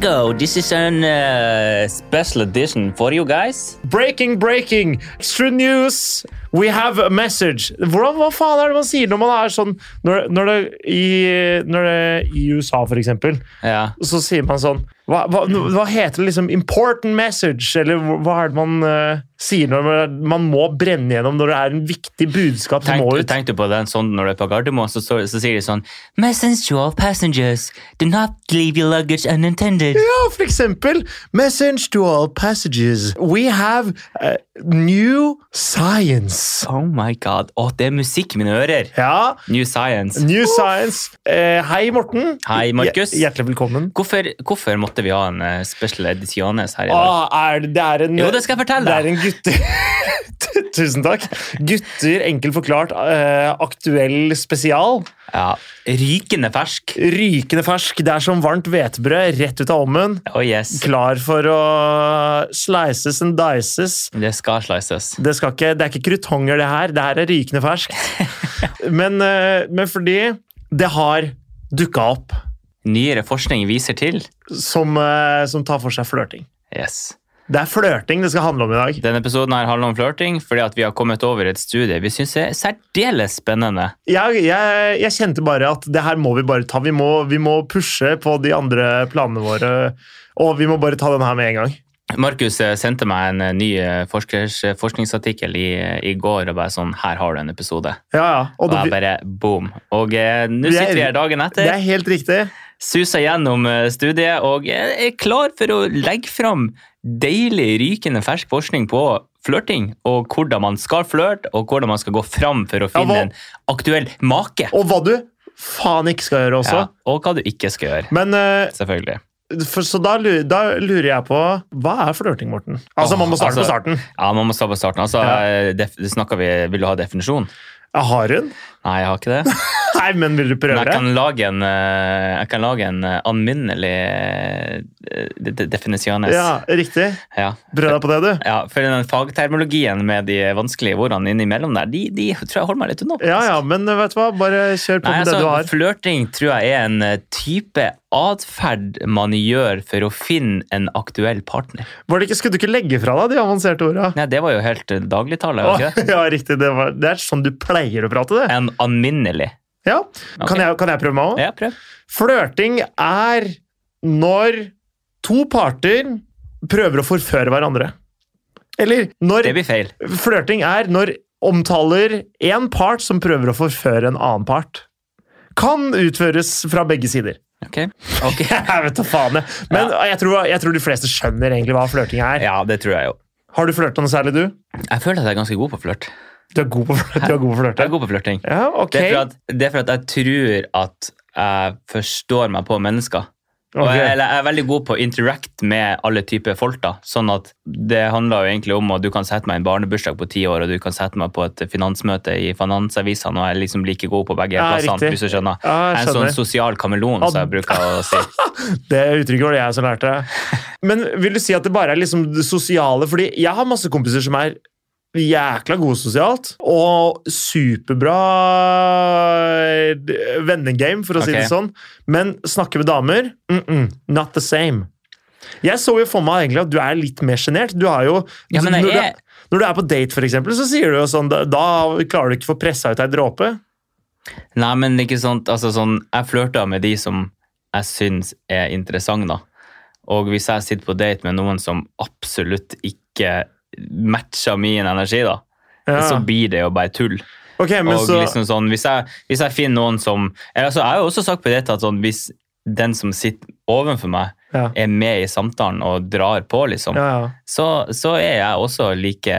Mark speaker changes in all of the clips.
Speaker 1: go. This is an uh, special edition for you guys.
Speaker 2: Breaking, breaking! Extra news! We have a message! Hvordan, hva faen er det man sier når man er sånn Når, når, det, i, når det i USA, for eksempel,
Speaker 1: Ja.
Speaker 2: så sier man sånn Hva, hva, hva heter det liksom? Important message? Eller hva hva er det man eh, sier når man, man må brenne gjennom når det er en viktig budskap som
Speaker 1: Tenk,
Speaker 2: må ut?
Speaker 1: tenk du på den sånn når du er på Gardermoen, så, så, så sier de sånn Message to all passengers. Do not leave your luggage unattended.
Speaker 2: Ja, for eksempel Message to all passages. We have eh, new science.
Speaker 1: Oh my god. Å, det er musikk i mine ører.
Speaker 2: Ja,
Speaker 1: New science.
Speaker 2: New Science. Eh, hei, Morten.
Speaker 1: Hei, Markus.
Speaker 2: Hjer- Hjertelig velkommen.
Speaker 1: Hvorfor, hvorfor måtte vi ha en eh, special editiones her i dag?
Speaker 2: Ah, er det, det er en
Speaker 1: Jo, det skal jeg fortelle
Speaker 2: Det er
Speaker 1: deg.
Speaker 2: en gutter Tusen takk. Gutter, enkelt forklart, eh, aktuell spesial.
Speaker 1: Ja, Rykende fersk.
Speaker 2: Rykende fersk. Det er som varmt hvetebrød rett ut av ovnen.
Speaker 1: Oh yes.
Speaker 2: Klar for å slices and dices.
Speaker 1: Det skal slices.
Speaker 2: Det, skal ikke, det er ikke krutonger, det her. Det her er rykende ferskt. Men, eh, men fordi det har dukka opp
Speaker 1: Nyere forskning viser til.
Speaker 2: som, eh, som tar for seg flørting.
Speaker 1: Yes.
Speaker 2: Det er flørting det skal handle om i dag.
Speaker 1: Denne episoden her handler om flørting fordi at vi har kommet over et studie vi syns er særdeles spennende.
Speaker 2: Jeg, jeg, jeg kjente bare at det her må vi bare ta. Vi må, vi må pushe på de andre planene våre. Og vi må bare ta den her med en gang.
Speaker 1: Markus eh, sendte meg en eh, ny eh, forskers, eh, forskningsartikkel i, i går og bare sånn Her har du en episode.
Speaker 2: Ja, ja. Og
Speaker 1: Og jeg
Speaker 2: det,
Speaker 1: bare boom. Og eh, nå
Speaker 2: Vi er-
Speaker 1: sitter vi her dagen
Speaker 2: det er
Speaker 1: etter,
Speaker 2: helt riktig.
Speaker 1: suser gjennom eh, studiet og eh, er er klar for å legge fram deilig, rykende fersk forskning på flørting og hvordan man skal flørte, og hvordan man skal gå fram for å
Speaker 2: Ja,
Speaker 1: finne
Speaker 2: hva-
Speaker 1: en aktuell make.
Speaker 2: Og hva du faen ikke skal gjøre også.
Speaker 1: Ja, og hva du ikke skal gjøre.
Speaker 2: Men eh,
Speaker 1: Selvfølgelig.
Speaker 2: for, Så da, lu- da lurer jeg på Hva er flørting, Morten? Altså,
Speaker 1: Åh,
Speaker 2: man må
Speaker 1: altså-
Speaker 2: starte på starten.
Speaker 1: Ja, man må stå på starten. Altså,
Speaker 2: Ja.
Speaker 1: def- snakker vi, Vil du ha definisjon?
Speaker 2: Jeg har hun.
Speaker 1: Nei, jeg har ikke det.
Speaker 2: Nei, men vil du
Speaker 1: Men
Speaker 2: prøve?
Speaker 1: jeg kan lage en, eh, jeg kan lage en eh, anminnelig eh, de- de- definisjones.
Speaker 2: Ja, riktig.
Speaker 1: Ja.
Speaker 2: Prøv deg på det, du.
Speaker 1: Ja, for den fagtermologien med de vanskelige ordene innimellom der, de, de tror jeg holder meg litt unna.
Speaker 2: Ja, ja, men vet du hva? Bare kjør på
Speaker 1: Nei,
Speaker 2: med det du
Speaker 1: altså,
Speaker 2: har.
Speaker 1: flørting tror jeg er en eh, type atferd man gjør for å finne en aktuell partner.
Speaker 2: Var det ikke, skulle du ikke legge fra deg de avanserte orda?
Speaker 1: Nei, det var jo helt eh, dagligtale. var det ikke det?
Speaker 2: Ja, riktig. Det, var, det er sånn du pleier å prate, det.
Speaker 1: En anminnelig.
Speaker 2: Ja.
Speaker 1: Ok.
Speaker 2: Kan, jeg, kan jeg prøve meg òg?
Speaker 1: Ja, prøv.
Speaker 2: Flørting er når to parter prøver å forføre hverandre. Eller når
Speaker 1: Det blir feil.
Speaker 2: Flørting er når omtaler én part som prøver å forføre en annen part. Kan utføres fra begge sider.
Speaker 1: Ok. Ok.
Speaker 2: Jeg vet da faen, jeg. Men jeg, tror, jeg tror de fleste skjønner egentlig hva flørting er.
Speaker 1: Ja, det tror jeg jo.
Speaker 2: Har du flørta noe særlig, du?
Speaker 1: Jeg føler at jeg er ganske god på flørt.
Speaker 2: Du er god på flørt. Du er god
Speaker 1: Jeg er
Speaker 2: på flørting.
Speaker 1: god på flørting.
Speaker 2: Ja, ok.
Speaker 1: Det, er for at, det er for at jeg tror at jeg forstår meg på mennesker. Og
Speaker 2: Ok.
Speaker 1: jeg, eller jeg er veldig god på å interact med alle typer folk. da. Sånn at Det handler jo egentlig om at du kan sette meg i en barnebursdag på ti år, og du kan sette meg på et finansmøte i Finansavisene, og jeg er liksom like god på begge
Speaker 2: Ja,
Speaker 1: plassene.
Speaker 2: riktig.
Speaker 1: hvis du skjønner.
Speaker 2: Ja, jeg
Speaker 1: jeg er en
Speaker 2: skjønner.
Speaker 1: sånn sosial kameleon, som jeg bruker å si.
Speaker 2: Det uttrykket var det jeg som lærte. Men vil du si at det bare er liksom det sosiale? Fordi jeg har masse kompiser som er jækla gode sosialt, og superbra eh, vennegame, for å si
Speaker 1: Ok.
Speaker 2: det sånn. Men snakke med damer mm -mm, Not the same. Jeg så jo for meg egentlig at du er litt mer sjenert. Du har jo
Speaker 1: Ja, men jeg
Speaker 2: når, du
Speaker 1: er-
Speaker 2: er, når du er på date, for eksempel, så sier du jo sånn Da, da klarer du ikke å få pressa ut ei dråpe.
Speaker 1: Nei, men ikke sant, altså sånn, jeg flørter med de som jeg syns er interessante, da. Og hvis jeg sitter på date med noen som absolutt ikke matcher min energi, da, så
Speaker 2: Ja.
Speaker 1: blir det jo bare tull.
Speaker 2: Ok, men
Speaker 1: og
Speaker 2: så
Speaker 1: liksom sånn, hvis jeg, hvis jeg finner noen som eller, altså, Jeg har jo også sagt på date at sånn, hvis den som sitter ovenfor meg,
Speaker 2: Ja.
Speaker 1: er med i samtalen og drar på, liksom,
Speaker 2: Ja, ja.
Speaker 1: så, så er jeg også like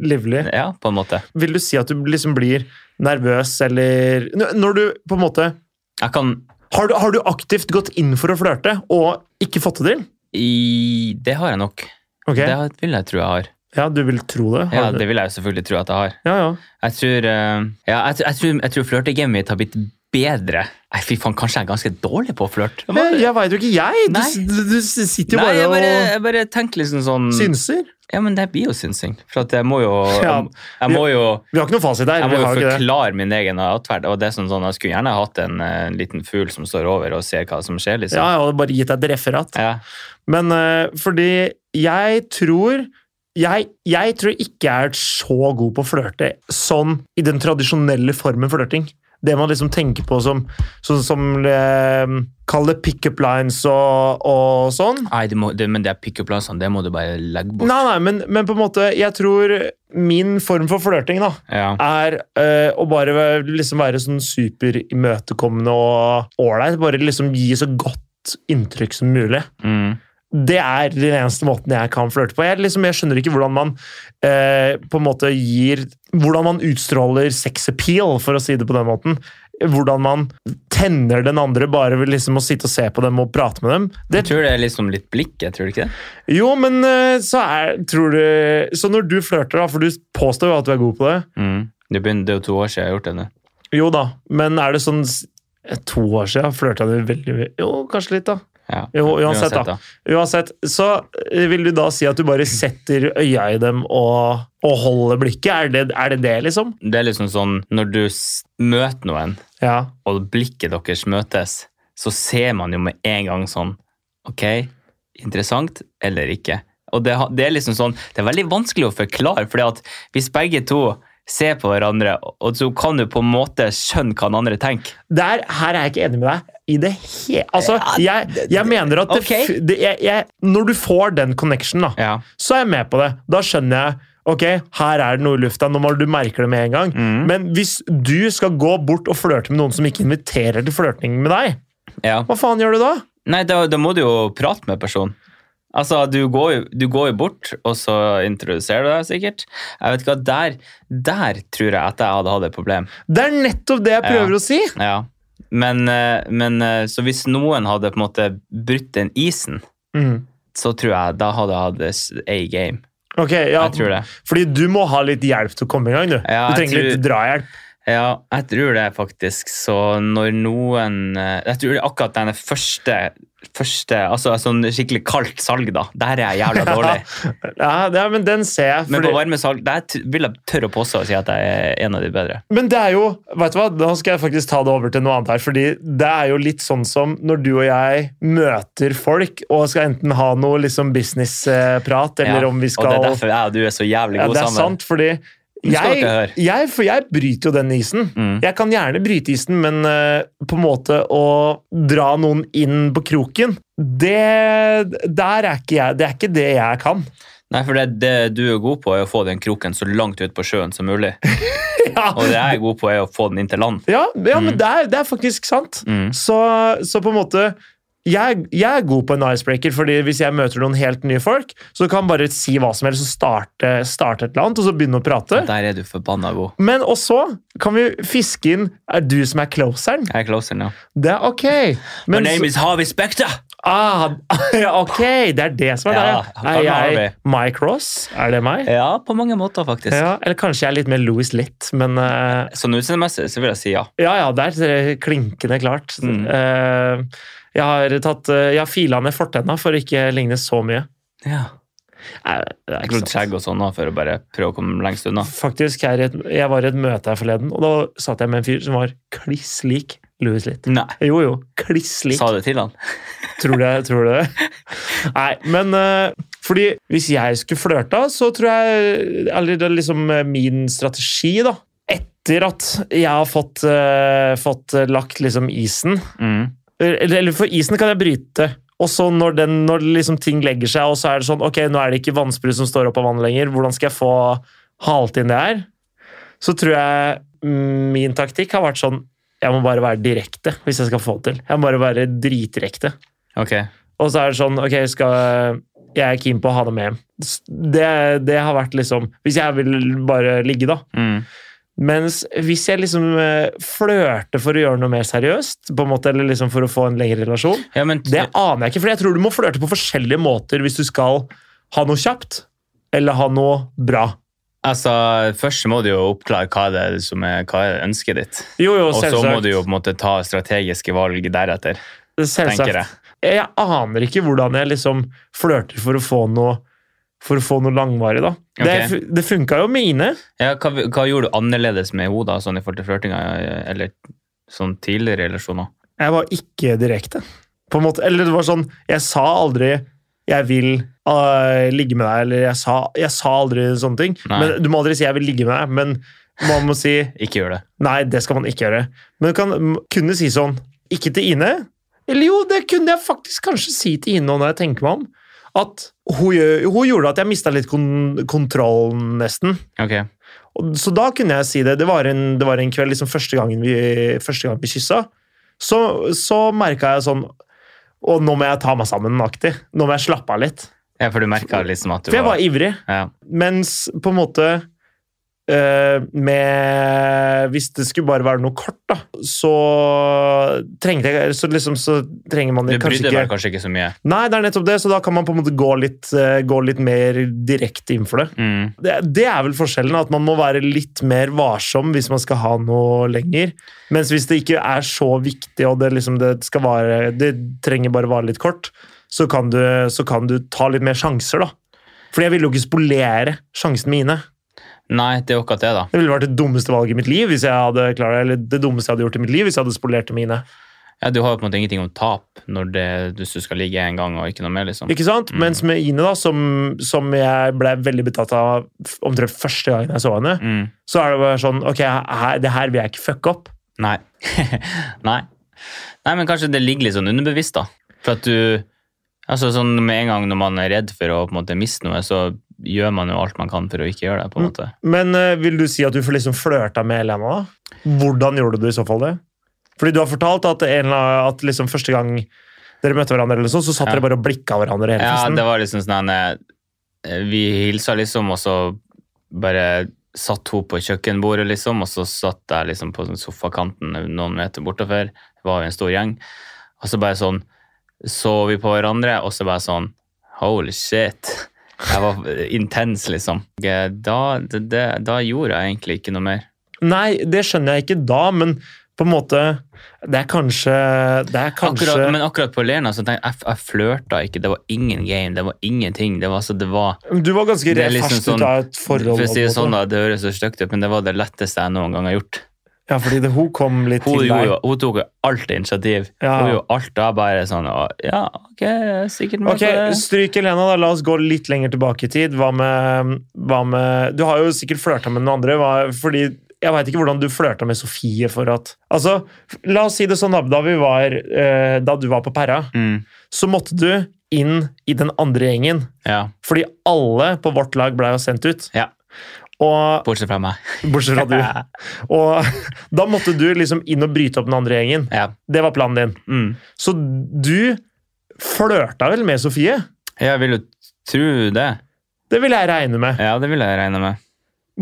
Speaker 2: Livlig.
Speaker 1: Ja, på en måte.
Speaker 2: vil du si at du liksom blir nervøs, eller N- Når du på en måte
Speaker 1: Jeg kan
Speaker 2: Har du, har du aktivt gått inn for å flørte og ikke fått det til?
Speaker 1: i, Det har jeg nok.
Speaker 2: Ok,
Speaker 1: Det vil jeg tro jeg har.
Speaker 2: Ja, du vil tro det?
Speaker 1: Ja,
Speaker 2: Har du-
Speaker 1: Det vil jeg jo selvfølgelig tro at jeg har.
Speaker 2: ja, ja.
Speaker 1: Jeg tror, eh, ja, jeg, tr- jeg tror, jeg tror flørtegamet mitt har blitt bedre Nei, fy faen, kanskje jeg er ganske dårlig på å flørte. Jeg
Speaker 2: Jeg,
Speaker 1: bare-
Speaker 2: jeg veit jo ikke, jeg. Du,
Speaker 1: Nei.
Speaker 2: du, du sitter jo
Speaker 1: Nei,
Speaker 2: bare,
Speaker 1: jeg bare, jeg bare tenker liksom sånn
Speaker 2: og synser.
Speaker 1: Ja, men det blir jo synsing. For at jeg må jo
Speaker 2: Ja.
Speaker 1: Jeg, jeg må jo
Speaker 2: Vi har ikke noe fasit der.
Speaker 1: jeg må
Speaker 2: vi
Speaker 1: jo
Speaker 2: har jo ikke det.
Speaker 1: forklare min egen atferd. Og det er sånn, sånn, jeg skulle gjerne hatt en, eh, en liten fugl som står over og ser hva som skjer.
Speaker 2: Ja,
Speaker 1: liksom.
Speaker 2: jeg hadde bare gitt deg et referat.
Speaker 1: Ja.
Speaker 2: Men eh, fordi jeg tror jeg, jeg tror ikke jeg er så god på å flørte sånn i den tradisjonelle formen flørting. Det man liksom tenker på som sånn som eh, Kall det pick-up lines og, og sånn.
Speaker 1: Nei, du må, det, men det er pick-up-lansene. sånn, Det må du bare legge bort.
Speaker 2: Nei, nei, men, men på en måte Jeg tror min form for flørting, da,
Speaker 1: Ja.
Speaker 2: er eh, å bare væ- liksom være sånn superimøtekommende og ålreit. Bare liksom gi så godt inntrykk som mulig.
Speaker 1: Mm.
Speaker 2: Det er den eneste måten jeg kan flørte på. Jeg, liksom, jeg skjønner ikke hvordan man eh, på en måte gir Hvordan man utstråler sex appeal, for å si det på den måten. Hvordan man tenner den andre bare ved liksom å sitte og se på dem og prate med dem. Det,
Speaker 1: Jeg tror det er liksom litt blikk. jeg tror ikke det?
Speaker 2: jo, men eh, så er tror du Så når du flørter, da, for du påstår jo at du er god på det.
Speaker 1: Mm. Det, begynner, det er jo to år siden jeg har gjort det nå.
Speaker 2: Jo da, men er det sånn s- To år siden flørta du veldig mye Jo, kanskje litt, da.
Speaker 1: Ja.
Speaker 2: Jo, uansett, da. Uansett, så eh, vil du da si at du bare setter øya i dem og, og holder blikket? Er det, er det det, liksom?
Speaker 1: Det er liksom sånn når du s- møter noen,
Speaker 2: Ja.
Speaker 1: og blikket deres møtes, så ser man jo med en gang sånn Ok, interessant eller ikke? Og det, ha- det er liksom sånn, det er veldig vanskelig å forklare, fordi at hvis begge to ser på hverandre, og så kan du på en måte skjønne hva den andre tenker.
Speaker 2: Der, her er jeg ikke enig med deg i det hele Altså, jeg, jeg mener at det,
Speaker 1: ok.
Speaker 2: f- det, jeg, jeg, Når du får den connection, da,
Speaker 1: Ja.
Speaker 2: så er jeg med på det. Da skjønner jeg ok, her er det noe i lufta. Nå må du merke det med en gang. Men hvis du skal gå bort og flørte med noen som ikke inviterer til flørting med deg,
Speaker 1: ja.
Speaker 2: hva faen gjør du da?
Speaker 1: Nei, da, da må du jo prate med personen. Altså, du går, jo- du går jo bort, og så introduserer du deg sikkert. Jeg vet ikke, hva, der, der tror jeg at jeg hadde hatt et problem.
Speaker 2: Det er nettopp det jeg prøver
Speaker 1: Ja.
Speaker 2: å si!
Speaker 1: Ja. Men, eh, men eh, så hvis noen hadde på en måte brutt den isen,
Speaker 2: Mm.
Speaker 1: så tror jeg da hadde jeg hatt s- a game.
Speaker 2: Ok, ja.
Speaker 1: Jeg tror det.
Speaker 2: Fordi du må ha litt hjelp til å komme i gang, du.
Speaker 1: Ja,
Speaker 2: du
Speaker 1: jeg
Speaker 2: trenger litt drahjelp.
Speaker 1: Ja, jeg tror det faktisk. Så når noen eh, Jeg tror det er akkurat denne første, første altså sånn skikkelig kaldt salg, da. Der er jeg jævla dårlig.
Speaker 2: Ja, det er, men den ser jeg.
Speaker 1: Men
Speaker 2: fordi-
Speaker 1: på varme salg der t- vil jeg tørre å påstå og si at jeg er en av de bedre.
Speaker 2: Men det er jo, vet du hva, da skal jeg faktisk ta det over til noe annet her, fordi det er jo litt sånn som når du og jeg møter folk og skal enten ha noe liksom businessprat, eller
Speaker 1: Ja,
Speaker 2: om vi skal...
Speaker 1: Og det er derfor jeg og du er så jævlig
Speaker 2: ja,
Speaker 1: gode
Speaker 2: det er
Speaker 1: sammen.
Speaker 2: sant, fordi
Speaker 1: skal
Speaker 2: jeg,
Speaker 1: dere høre.
Speaker 2: jeg, for jeg bryter jo den isen.
Speaker 1: Mm.
Speaker 2: Jeg kan gjerne bryte isen, men eh, på en måte å dra noen inn på kroken, det, der er ikke jeg, det er ikke det jeg kan.
Speaker 1: Nei, for det, det du er god på, er å få den kroken så langt ut på sjøen som mulig.
Speaker 2: Ja,
Speaker 1: Og det jeg er god på, er å få den inn til land.
Speaker 2: ja, ja men det er, det er faktisk sant.
Speaker 1: Mm.
Speaker 2: Så, så på en måte jeg, jeg er god på en icebreaker, fordi hvis jeg møter noen helt nye folk, så kan jeg bare si hva som helst og starte, starte et eller annet, og så begynne å prate.
Speaker 1: Der er du forbanna god.
Speaker 2: Men også kan vi fiske inn Er du som er closeren?
Speaker 1: Jeg er closeren, ja.
Speaker 2: Det er ok.
Speaker 1: My
Speaker 2: Men
Speaker 1: name
Speaker 2: så-
Speaker 1: is Harvey Specter!
Speaker 2: ah, ja, Ok, det er det som er
Speaker 1: Ja,
Speaker 2: det.
Speaker 1: han
Speaker 2: Er
Speaker 1: har
Speaker 2: jeg Mike Ross? Er det meg?
Speaker 1: Ja, på mange måter, faktisk.
Speaker 2: Ja, eller kanskje jeg er litt mer Louis Litt, men eh,
Speaker 1: Sånn utseendemessig så vil jeg si ja.
Speaker 2: Ja, ja, der ser det eh, klinkende klart.
Speaker 1: Mm.
Speaker 2: Eh, jeg har, tatt, eh, jeg har fila ned fortenna for å ikke ligne så mye.
Speaker 1: ja.
Speaker 2: Nei, det er
Speaker 1: Jeg
Speaker 2: ikke
Speaker 1: grodde
Speaker 2: sant.
Speaker 1: skjegg og sånn nå for å bare prøve å komme lengst unna.
Speaker 2: Faktisk, her, i et- Jeg var i et møte her forleden, og da satt jeg med en fyr som var kliss lik Louis Litt.
Speaker 1: Nei.
Speaker 2: Jo, jo, kliss lik.
Speaker 1: Sa det til han?
Speaker 2: Tror du det? Tror du det? Nei, men eh, fordi hvis jeg skulle flørta, så tror jeg Eller det er liksom eh, min strategi, da. Etter at jeg har fått, eh, fått eh, lagt liksom isen, eh,
Speaker 1: Mm.
Speaker 2: eller, eller for isen kan jeg bryte. Og så når, den, når liksom ting legger seg, og så er det sånn Ok, nå er det ikke vannsprut som står opp av vannet lenger. Hvordan skal jeg få halt inn det her? Så tror jeg mm, min taktikk har vært sånn Jeg må bare være direkte hvis jeg skal få det til. Jeg må bare være dritdirekte.
Speaker 1: Ok.
Speaker 2: Og så er det sånn Ok, skal jeg er keen på å ha det med hjem. Det, det har vært liksom Hvis jeg vil bare ligge, da.
Speaker 1: Mm.
Speaker 2: Mens hvis jeg liksom eh, flørter for å gjøre noe mer seriøst, på en måte, eller liksom for å få en lengre relasjon
Speaker 1: Ja, men
Speaker 2: det aner jeg ikke, for jeg tror du må flørte på forskjellige måter hvis du skal ha noe kjapt, eller ha noe bra.
Speaker 1: Altså, Først må du jo oppklare hva det er som er, hva er ønsket ditt.
Speaker 2: Jo, jo,
Speaker 1: Og så
Speaker 2: selvsagt.
Speaker 1: må du jo på en måte ta strategiske valg deretter.
Speaker 2: Selvsagt.
Speaker 1: tenker jeg.
Speaker 2: Jeg aner ikke hvordan jeg liksom flørter for å få noe for å få noe langvarig, da. Det,
Speaker 1: Ok.
Speaker 2: fu- det funka jo med Ine.
Speaker 1: Ja, hva, hva gjorde du annerledes med henne da, sånn i forhold til flørtinga, eller sånn tidligere relasjoner?
Speaker 2: Jeg var ikke direkte. På en måte, eller det var sånn Jeg sa aldri 'jeg vil øh, ligge med deg', eller jeg sa, jeg sa aldri sånne ting.
Speaker 1: Nei.
Speaker 2: Men, du må aldri si 'jeg vil ligge med deg', men man må si
Speaker 1: Ikke gjør det.
Speaker 2: 'nei, det skal man ikke gjøre'. Men du kan m- kunne si sånn 'ikke til Ine'. Eller jo, det kunne jeg faktisk kanskje si til Ine nå når jeg tenker meg om. At hun, gjør- hun gjorde at jeg mista litt kon kontrollen, nesten.
Speaker 1: Ok,
Speaker 2: Og, så da kunne jeg si det. Det var en, det var en kveld, liksom første gangen vi, første gang vi kyssa, så, så merka jeg sånn Og nå må jeg ta meg sammen aktig. Nå må jeg slappe av litt.
Speaker 1: ja, For du merka liksom at du
Speaker 2: For jeg var ivrig.
Speaker 1: ja.
Speaker 2: Mens på en måte eh, med Hvis det skulle bare være noe kort, da, så trengte jeg Så liksom, så trenger man
Speaker 1: Du brydde
Speaker 2: kanskje
Speaker 1: deg
Speaker 2: ikke
Speaker 1: kanskje ikke så mye.
Speaker 2: Nei, det er nettopp det, så da kan man på en måte gå litt, eh, gå litt mer direkte inn for det.
Speaker 1: Mm.
Speaker 2: Det, det er vel forskjellen, at man må være litt mer varsom hvis man skal ha noe lenger. Mens hvis det ikke er så viktig, og det, liksom, det, skal vare, det trenger bare vare litt kort, så kan, du, så kan du ta litt mer sjanser, da. Fordi jeg ville jo ikke spolere sjansene mine.
Speaker 1: Nei, det er jo akkurat det, da.
Speaker 2: Det ville vært det dummeste valget i mitt liv hvis jeg hadde klart det, eller det dummeste jeg hadde gjort i mitt liv hvis jeg hadde spolert det mine.
Speaker 1: Ja, Du har jo på en måte ingenting om tap når det, hvis du skal ligge en gang og ikke noe mer, liksom.
Speaker 2: Ikke sant? Mens med Ine, da, som, som jeg ble veldig betatt av f- omtrent første gangen jeg så henne,
Speaker 1: Mm.
Speaker 2: så er det bare sånn Ok, her, det her vil jeg ikke fucke opp.
Speaker 1: Nei. Nei. Nei, men kanskje det ligger litt sånn underbevisst, da. For at du Altså sånn med en gang når man er redd for å på en måte miste noe, så gjør man jo alt man kan for å ikke gjøre det, på en måte.
Speaker 2: Men eh, vil du si at du liksom flørta med Elena? da? Hvordan gjorde du i så fall det? Fordi du har fortalt at, en, eller annen- at liksom første gang dere møtte hverandre, eller sånn, så satt
Speaker 1: Ja.
Speaker 2: dere bare og blikka hverandre hele
Speaker 1: Ja,
Speaker 2: festen.
Speaker 1: det var liksom sånn en, eh, Vi hilsa liksom, og så bare satt hun på kjøkkenbordet, liksom, og så satt jeg liksom på sånn sofakanten noen meter bortafor. Det var jo en stor gjeng. Og så bare sånn så vi på hverandre, og så bare sånn Holy shit. Jeg var intens, liksom. Eh, Da, det, det, da gjorde jeg egentlig ikke noe mer.
Speaker 2: Nei, det skjønner jeg ikke da, men på en måte Det er kanskje Det er kanskje
Speaker 1: Akkurat, men akkurat på Lerna så tenkte jeg jeg, jeg flørta ikke. Det var ingen game, det var ingenting. Det var, altså, det var
Speaker 2: Du var ganske
Speaker 1: Det er liksom
Speaker 2: fersk
Speaker 1: sånn-
Speaker 2: ut av et forhold.
Speaker 1: For å si
Speaker 2: på
Speaker 1: det
Speaker 2: en
Speaker 1: sånn
Speaker 2: måte.
Speaker 1: da, det høres så stygt ut, men det var det letteste jeg noen gang har gjort.
Speaker 2: Ja, fordi det, hun kom litt
Speaker 1: Hun,
Speaker 2: til
Speaker 1: gjorde,
Speaker 2: deg.
Speaker 1: jo- hun tok jo alt initiativ.
Speaker 2: Ja.
Speaker 1: Hun gjorde alt da, bare sånn og, Ja, ok, jeg er sikkert med på
Speaker 2: Ok,
Speaker 1: det.
Speaker 2: Stryk Elena, da. La oss gå litt lenger tilbake i tid. Hva med, hva med Du har jo sikkert flørta med noen andre. Hva, fordi jeg veit ikke hvordan du flørta med Sofie for at Altså, la oss si det sånn, da. Da, vi var, eh, da du var på Perra,
Speaker 1: Mm,
Speaker 2: så måtte du inn i den andre gjengen.
Speaker 1: ja,
Speaker 2: Fordi alle på vårt lag blei jo sendt ut.
Speaker 1: Ja.
Speaker 2: Og,
Speaker 1: bortsett fra meg.
Speaker 2: bortsett fra du. Og da måtte du liksom inn og bryte opp den andre gjengen.
Speaker 1: Ja.
Speaker 2: Det var planen din.
Speaker 1: Mm.
Speaker 2: Så du flørta vel med Sofie?
Speaker 1: Jeg vil jo tro det.
Speaker 2: Det vil jeg regne med.
Speaker 1: Ja, det vil jeg regne med.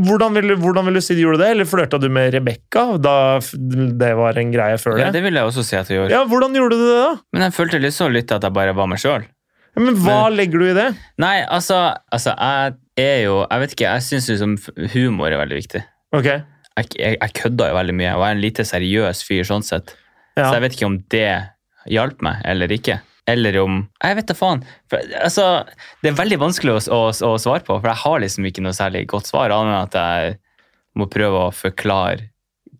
Speaker 2: Hvordan vil, du- hvordan vil du si du gjorde det? Eller flørta du med Rebekka da f- det var en greie før
Speaker 1: Ja,
Speaker 2: det?
Speaker 1: det vil jeg også si at jeg gjorde.
Speaker 2: Ja, hvordan gjorde du det, da?
Speaker 1: Men jeg følte liksom litt at jeg bare var meg sjøl.
Speaker 2: Ja, Men hva legger du i det?
Speaker 1: Nei, altså, altså Jeg er jo Jeg vet ikke, jeg syns liksom humor er veldig viktig.
Speaker 2: Ok.
Speaker 1: Jeg, jeg, jeg kødda jo veldig mye, og jeg er en lite seriøs fyr sånn sett. Så
Speaker 2: Ja.
Speaker 1: jeg vet ikke om det hjalp meg eller ikke. Eller om Jeg vet da faen. For, altså, det er veldig vanskelig å, å, å svare på, for jeg har liksom ikke noe særlig godt svar, annet enn at jeg må prøve å forklare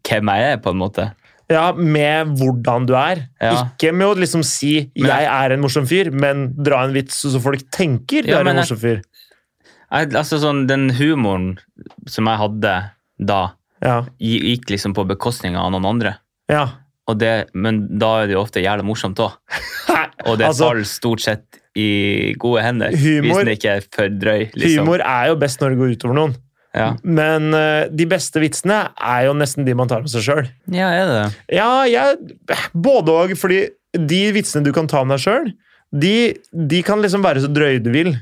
Speaker 1: hvem jeg er, på en måte.
Speaker 2: ja, med hvordan du er.
Speaker 1: Ja.
Speaker 2: Ikke med å liksom si
Speaker 1: Men-
Speaker 2: 'jeg er en morsom fyr', men dra en vits så folk tenker du
Speaker 1: Ja,
Speaker 2: er en
Speaker 1: men jeg-
Speaker 2: morsom fyr.
Speaker 1: Jeg, altså sånn, Den humoren som jeg hadde da,
Speaker 2: Ja.
Speaker 1: gi- gikk liksom på bekostning av noen andre.
Speaker 2: ja.
Speaker 1: Og det, men da er det jo ofte jævla morsomt òg. Og det
Speaker 2: Altså-
Speaker 1: faller stort sett i gode hender.
Speaker 2: Humor-
Speaker 1: hvis den ikke er for drøy. Liksom.
Speaker 2: Humor er jo best når det går utover noen.
Speaker 1: Ja.
Speaker 2: Men eh, de beste vitsene er jo nesten de man tar med seg sjøl.
Speaker 1: ja, er det det?
Speaker 2: Ja, jeg, både og. Fordi de vitsene du kan ta med deg sjøl, de, de kan liksom være så drøye du vil.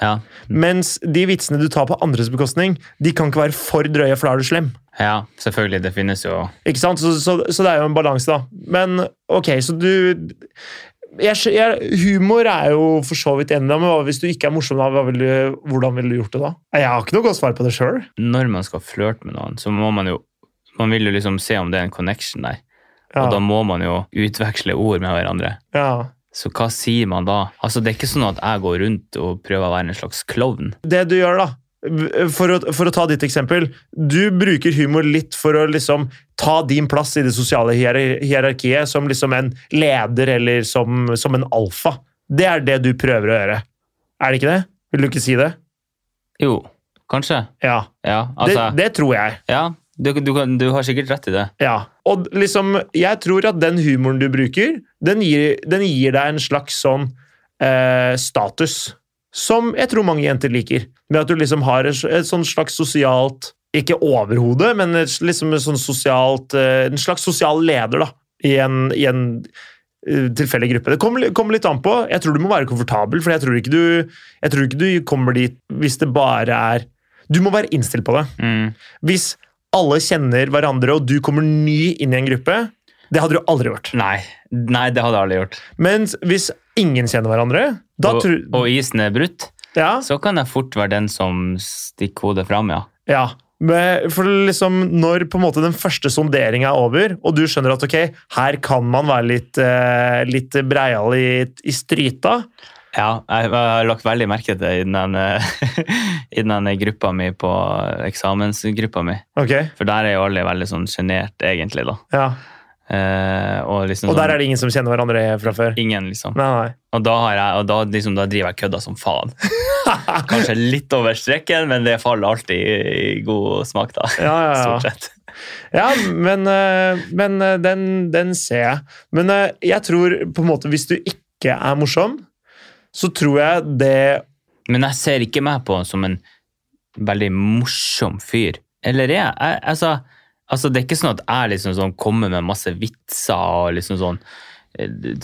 Speaker 1: Ja.
Speaker 2: Mens de vitsene du tar på andres bekostning, de kan ikke være for drøye, for da er du slem.
Speaker 1: Ja, selvfølgelig. Det finnes jo
Speaker 2: Ikke sant? Så, så, så det er jo en balanse, da. Men ok, så du jeg, skj- jeg, humor er jo for så vidt enig, i, men hva, hvis du ikke er morsom, da, hva vil du, hvordan ville du gjort det da? Jeg har ikke noe godt svar på det sjøl.
Speaker 1: Når man skal flørte med noen, så må man jo man vil jo liksom se om det er en connection der.
Speaker 2: Ja,
Speaker 1: Og da må man jo utveksle ord med hverandre.
Speaker 2: ja.
Speaker 1: Så hva sier man da? Altså, Det er ikke sånn at jeg går rundt og prøver å være en slags klovn.
Speaker 2: Det du gjør, da for å, for å ta ditt eksempel Du bruker humor litt for å liksom ta din plass i det sosiale hier- hierarkiet som liksom en leder eller som, som en alfa. Det er det du prøver å gjøre. Er det ikke det? Vil du ikke si det?
Speaker 1: Jo, kanskje.
Speaker 2: Ja.
Speaker 1: Ja, altså,
Speaker 2: det, det tror jeg.
Speaker 1: ja du, du, kan- du har sikkert rett i det.
Speaker 2: Ja, og liksom, jeg tror at den humoren du bruker, den gir, den gir deg en slags sånn eh, status, som jeg tror mange jenter liker. Med at du liksom har et, s- et sånn slags sosialt, ikke overhode, men et, s- liksom et sånn sosialt, eh, en slags sosial leder da, i en, i en eh, tilfeldig gruppe. Det kommer, li- kommer litt an på. Jeg tror du må være komfortabel, for jeg tror, ikke du, jeg tror ikke du kommer dit hvis det bare er... Du må være innstilt på det.
Speaker 1: Mm.
Speaker 2: Hvis alle kjenner hverandre, og du kommer ny inn i en gruppe, det hadde du aldri gjort.
Speaker 1: Nei, nei, det hadde jeg aldri gjort.
Speaker 2: Mens hvis ingen kjenner hverandre, da
Speaker 1: Og,
Speaker 2: tror
Speaker 1: og isen er brutt,
Speaker 2: ja,
Speaker 1: så kan jeg fort være den som stikker hodet fram, ja.
Speaker 2: ja. Men For liksom, når på en måte den første sonderinga er over, og du skjønner at ok, her kan man være litt, eh, litt breial i, i stryta
Speaker 1: Ja, jeg, jeg har lagt veldig merke til det i den, eh, i den ene gruppa mi på eksamensgruppa mi.
Speaker 2: Ok,
Speaker 1: For der er jo alle veldig sånn sjenert, egentlig, da.
Speaker 2: ja.
Speaker 1: Eh, og liksom
Speaker 2: Og der er det ingen som kjenner hverandre fra før?
Speaker 1: Ingen, liksom.
Speaker 2: Nei, nei.
Speaker 1: Og da, har jeg, og da, liksom, da driver jeg kødda som faen. Kanskje litt over streken, men det faller alltid i, i god smak, da.
Speaker 2: Ja, ja, ja.
Speaker 1: Stort sett.
Speaker 2: Ja, men, eh, men eh, den, den ser jeg. Men eh, jeg tror på en måte hvis du ikke er morsom, så tror jeg det
Speaker 1: Men jeg ser ikke meg på som en veldig morsom fyr. Eller er jeg? jeg altså, altså, det er ikke sånn at jeg liksom sånn kommer med masse vitser og liksom sånn eh,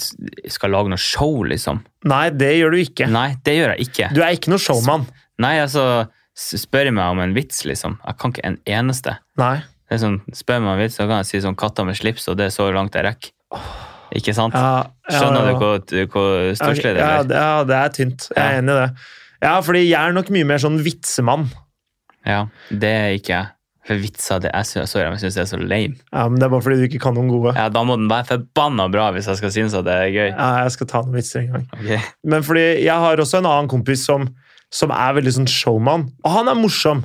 Speaker 1: skal lage noe show, liksom.
Speaker 2: Nei, det gjør du ikke.
Speaker 1: Nei, det gjør jeg ikke.
Speaker 2: Du er ikke noe showman.
Speaker 1: Nei, altså, s- spør jeg meg om en vits, liksom. Jeg kan ikke en eneste.
Speaker 2: Nei.
Speaker 1: Det er sånn, spør jeg meg om en vits, så kan jeg si sånn katter med slips, og det er så langt jeg rekker. Ikke sant?
Speaker 2: Ja, ja,
Speaker 1: Skjønner
Speaker 2: ja.
Speaker 1: du hvor, hvor størst det
Speaker 2: Ja,
Speaker 1: er?
Speaker 2: det- ja, det er tynt. Jeg er
Speaker 1: Ja.
Speaker 2: enig i det. Ja, fordi jeg er nok mye mer sånn vitsemann.
Speaker 1: Ja, det er ikke jeg. For vitser, det er, sorry, men jeg synes det er så lame.
Speaker 2: Ja, men Det er bare fordi du ikke kan noen gode.
Speaker 1: Ja, da må den være forbanna bra hvis jeg skal synes at det er gøy.
Speaker 2: Ja, jeg skal ta noen vitser en gang.
Speaker 1: Ok.
Speaker 2: Men fordi jeg har også en annen kompis som, som er veldig sånn showman. Og han er morsom.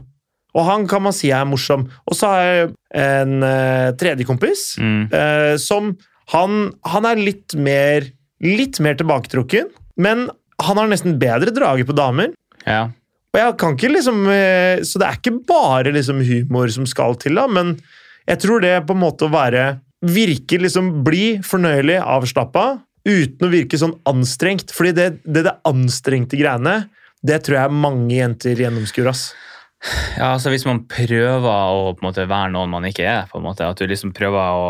Speaker 2: Og han kan man si er morsom. Og så har jeg en eh, tredje kompis
Speaker 1: Mm.
Speaker 2: eh, som han, han er litt mer, litt mer tilbaketrukken, men han har nesten bedre drage på damer.
Speaker 1: Ja.
Speaker 2: Og jeg kan ikke liksom eh, Så det er ikke bare liksom humor som skal til, da, men jeg tror det på en måte å være Virke liksom Bli fornøyelig, avslappa, uten å virke sånn anstrengt. Fordi det det, det anstrengte greiene, det tror jeg mange jenter gjennomskuer, ass.
Speaker 1: ja, altså hvis man prøver å på en måte være noen man ikke er, på en måte, at du liksom prøver å,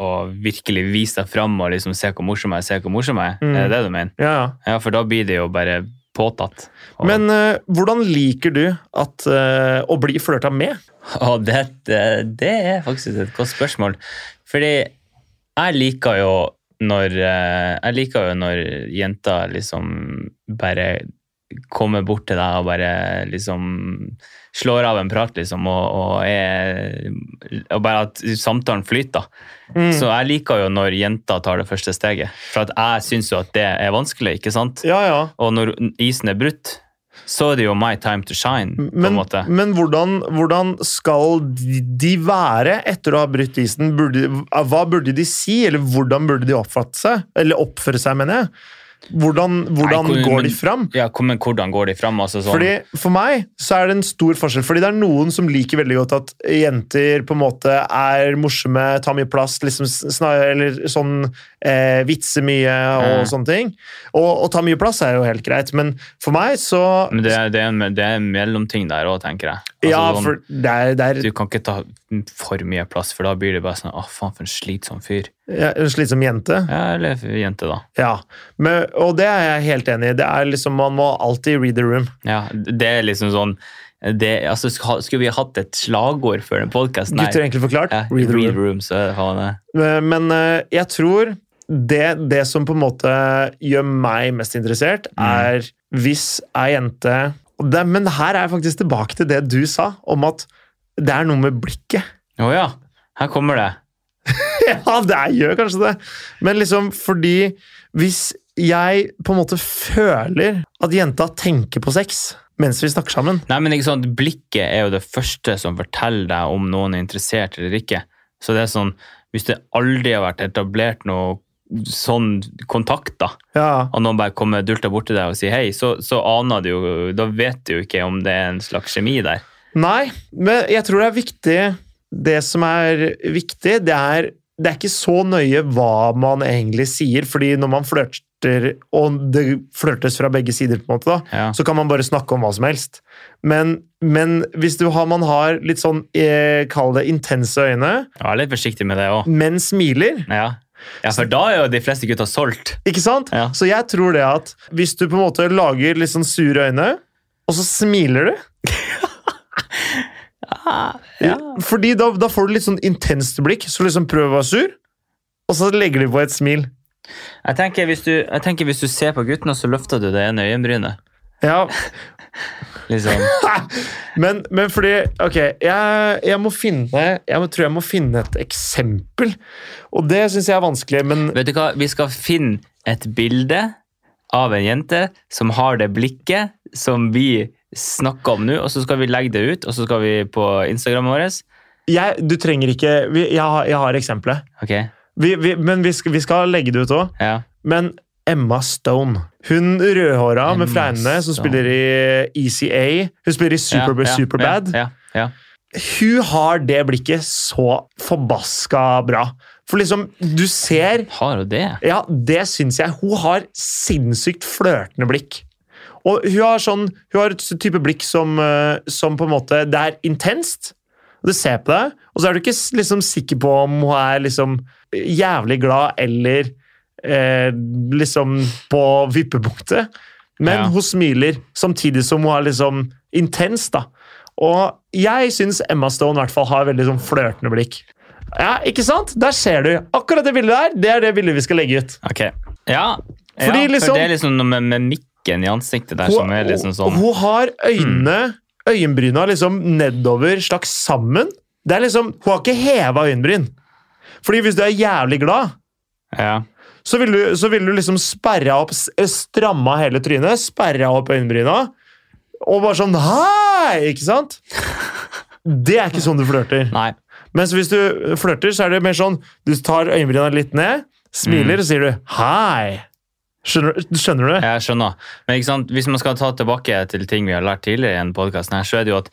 Speaker 1: å virkelig vise deg fram og liksom se hvor morsom jeg er, se hvor morsom jeg er,
Speaker 2: Mm.
Speaker 1: er det det du mener?
Speaker 2: Ja, ja.
Speaker 1: Ja, for da blir det jo bare påtatt. Og,
Speaker 2: Men eh, hvordan liker du at, eh, å bli flørta med?
Speaker 1: og det, det, det er faktisk et godt spørsmål. Fordi jeg liker jo når eh, Jeg liker jo når jenter liksom bare kommer bort til deg og bare liksom slår av en prat, liksom, og, og, er, og bare at samtalen flyter.
Speaker 2: Mm.
Speaker 1: Så jeg liker jo når jenter tar det første steget, for at jeg syns jo at det er vanskelig, ikke sant?
Speaker 2: Ja, ja.
Speaker 1: Og når isen er brutt, så er det jo my time to shine, på en
Speaker 2: Men,
Speaker 1: måte.
Speaker 2: men hvordan, hvordan skal de de være etter å ha brutt isen? Burde, hva burde de si, eller hvordan burde de oppfatte seg? Eller oppføre seg, mener jeg. Hvordan, hvordan
Speaker 1: Nei, hvor-
Speaker 2: går de
Speaker 1: men-
Speaker 2: fram?
Speaker 1: Ja, hvor- men hvordan går de fram? Altså sånn,
Speaker 2: Fordi For meg så er det en stor forskjell. Fordi det er noen som liker veldig godt at jenter på en måte er morsomme, tar mye plass, liksom snar, eller sånn eh, vitser mye
Speaker 1: Mm.
Speaker 2: og sånne ting. Og, og ta mye plass er jo helt greit, men for meg så
Speaker 1: men det, er- det, er, en- det er en mellomting der òg, tenker jeg. Altså,
Speaker 2: Ja,
Speaker 1: sånn,
Speaker 2: for det er, det er
Speaker 1: Du kan ikke ta for mye plass, for da blir det bare sånn Å, faen, for en slitsom fyr.
Speaker 2: Ja, En slitsom jente?
Speaker 1: Ja, eller jente, da.
Speaker 2: Ja. Men, og det er jeg helt enig i. Det er liksom, Man må alltid read the room.
Speaker 1: Ja, det er liksom sånn det, altså, sk- Skulle vi hatt et slagord for en podkast? Nei.
Speaker 2: Gutter, enkelt forklart.
Speaker 1: ja, eh.
Speaker 2: read the room.
Speaker 1: så er det faen det.
Speaker 2: Men eh, jeg tror det, det som på en måte gjør meg mest interessert, er hvis ei jente og det, Men her er jeg faktisk tilbake til det du sa, om at det er noe med blikket.
Speaker 1: Å ja, her kommer det.
Speaker 2: Ja, det er- gjør kanskje det. Men liksom fordi Hvis jeg på en måte føler at jenta tenker på sex mens vi snakker sammen
Speaker 1: Nei, men ikke sant, Blikket er jo det første som forteller deg om noen er interessert eller ikke. Så det er sånn, Hvis det aldri har vært etablert noe sånn kontakt, da,
Speaker 2: Ja,
Speaker 1: og noen bare kommer dulta borti deg og sier hei, så, så aner du jo Da vet du jo ikke om det er en slags kjemi der.
Speaker 2: Nei, men jeg tror det er viktig Det som er viktig, det er det er ikke så nøye hva man egentlig sier, fordi når man flørter, og det flørtes fra begge sider, på en måte da,
Speaker 1: Ja.
Speaker 2: så kan man bare snakke om hva som helst. Men, men hvis du har, man har litt sånn, eh, kall det intense øyne,
Speaker 1: Jeg er litt forsiktig med det òg.
Speaker 2: men smiler,
Speaker 1: Ja. ja, for da er jo de fleste gutter solgt.
Speaker 2: Ikke sant?
Speaker 1: Ja.
Speaker 2: Så jeg tror det at hvis du på en måte lager litt sånn sure øyne, og så smiler du Fordi da, da får du litt sånn intenst blikk, så liksom prøv å være sur, og så legger du på et smil.
Speaker 1: Jeg tenker, hvis du, jeg tenker hvis du ser på gutten, og så løfter du det ene øyenbrynet.
Speaker 2: Ja,
Speaker 1: Liksom.
Speaker 2: Men, men fordi Ok, jeg, jeg må finne Jeg må, tror jeg må finne et eksempel, og det syns jeg er vanskelig, men
Speaker 1: Vet du hva, vi skal finne et bilde av en jente som har det blikket som vi snakker om nå, og så skal vi legge det ut, og så skal vi på Instagram vår.
Speaker 2: jeg, du trenger ikke vi, jeg, har- jeg har eksempelet.
Speaker 1: Ok,
Speaker 2: Vi, vi, men vi skal, vi skal legge det ut òg.
Speaker 1: ja.
Speaker 2: Men Emma Stone, hun rødhåra med
Speaker 1: Emma
Speaker 2: fregnene som
Speaker 1: Stone.
Speaker 2: spiller i ECA Hun spiller i Super,
Speaker 1: ja, ja,
Speaker 2: Superbad.
Speaker 1: Ja, ja,
Speaker 2: Hun har det blikket så forbaska bra. For liksom, du ser
Speaker 1: ja. Har hun det?
Speaker 2: Ja, det syns jeg. Hun har sinnssykt flørtende blikk. Og hun har, sånn, hun har et type blikk som, eh, som på en måte Det er intenst. og Du ser på deg, og så er du ikke s- liksom sikker på om hun er liksom jævlig glad eller eh, liksom på vippepunktet. Men
Speaker 1: Ja.
Speaker 2: hun smiler samtidig som hun er liksom intens, da. Og jeg syns Emma Stone i hvert fall har veldig sånn flørtende blikk. Ja, ikke sant? Der ser du. Akkurat det bildet der, det er det bildet vi skal legge ut.
Speaker 1: Ok. Ja,
Speaker 2: Fordi
Speaker 1: ja
Speaker 2: liksom-
Speaker 1: for det er liksom noe med, med mikken i ansiktet der som er liksom sånn
Speaker 2: hun har øynene, øyenbryna liksom nedover, slags sammen. Det er liksom, Hun har ikke heva øyenbryn. Fordi hvis du er jævlig glad,
Speaker 1: Ja,
Speaker 2: så vil du, så vil du liksom sperre opp, s- stramme av hele trynet, sperre opp øyenbryna, og bare sånn Hei! Ikke sant? Det er ikke sånn du flørter.
Speaker 1: nei.
Speaker 2: Mens hvis du flørter, så er det mer sånn Du tar øyenbryna litt ned, smiler, og sier du hei. Skjønner, skjønner du?
Speaker 1: Jeg skjønner. Men ikke sant? hvis man skal ta tilbake til ting vi har lært tidligere i denne podcasten her, så er det jo at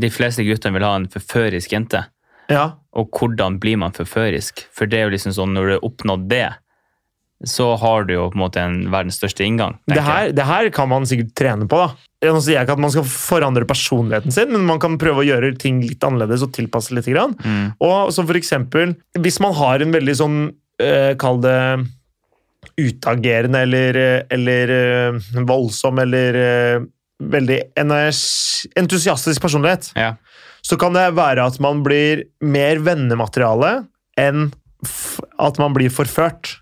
Speaker 1: de fleste guttene vil ha en forførisk jente.
Speaker 2: Ja.
Speaker 1: Og hvordan blir man forførisk? For det er jo liksom sånn, når du har oppnådd det, så har du jo på en måte en verdens største inngang. tenker
Speaker 2: Det her, det her kan man sikkert trene på, da. Nå sier jeg ikke at man skal forandre personligheten sin, men man kan prøve å gjøre ting litt annerledes og tilpasse litt. Grann.
Speaker 1: jeg. Mm.
Speaker 2: Og som for eksempel, hvis man har en veldig sånn, eh, kall det utagerende eller, eh, eller eh, voldsom eller eh, veldig energi, entusiastisk personlighet,
Speaker 1: Ja.
Speaker 2: så kan det være at man blir mer vennemateriale enn f at man blir forført.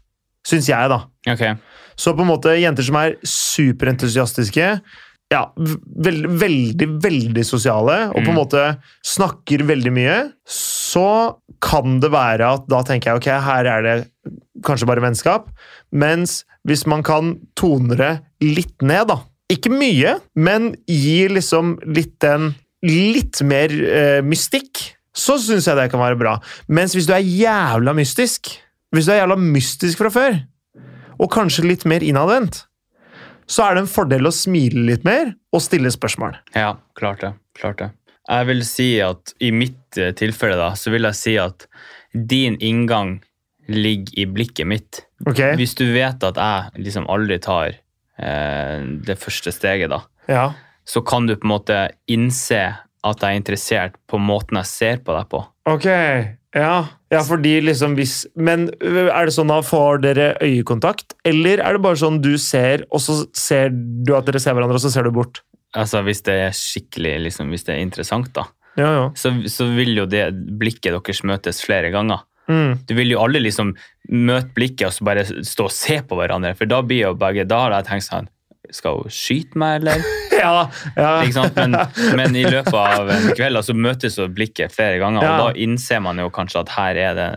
Speaker 2: Syns jeg, da.
Speaker 1: Ok.
Speaker 2: Så på en måte jenter som er superentusiastiske, ja, veld, veldig, veldig sosiale, og på en
Speaker 1: Mm.
Speaker 2: måte snakker veldig mye, så kan det være at da tenker jeg ok, her er det kanskje bare vennskap. Mens hvis man kan tone det litt ned, da. Ikke mye, men gi liksom litt den litt mer eh, mystikk, så syns jeg det kan være bra. Mens hvis du er jævla mystisk, hvis du er jævla mystisk fra før, og kanskje litt mer innadvendt, så er det en fordel å smile litt mer og stille spørsmål.
Speaker 1: Ja, klart det. Klart det. Jeg vil si at i mitt eh, tilfelle da, så vil jeg si at din inngang ligger i blikket mitt.
Speaker 2: Ok?
Speaker 1: Hvis du vet at jeg liksom aldri tar eh, det første steget da,
Speaker 2: Ja.
Speaker 1: så kan du på en måte innse at jeg er interessert på måten jeg ser på deg på.
Speaker 2: Ok. Ja. ja, fordi liksom hvis Men ø, er det sånn da får dere øyekontakt, eller er det bare sånn du ser, og så ser du at dere ser hverandre, og så ser du bort?
Speaker 1: Altså hvis det er skikkelig, liksom, hvis det er interessant da.
Speaker 2: Ja, ja.
Speaker 1: så, så vil jo det blikket deres møtes flere ganger.
Speaker 2: Mm.
Speaker 1: Du vil jo alle liksom møte blikket og så bare stå og se på hverandre, for da blir jo begge Da har jeg tenkt sånn Skal hun skyte meg, eller?
Speaker 2: Ja, ja.
Speaker 1: Ikke sant? Men, men i løpet av en kveld da, så møtes jo blikket flere ganger,
Speaker 2: Ja.
Speaker 1: og da innser man jo kanskje at her er det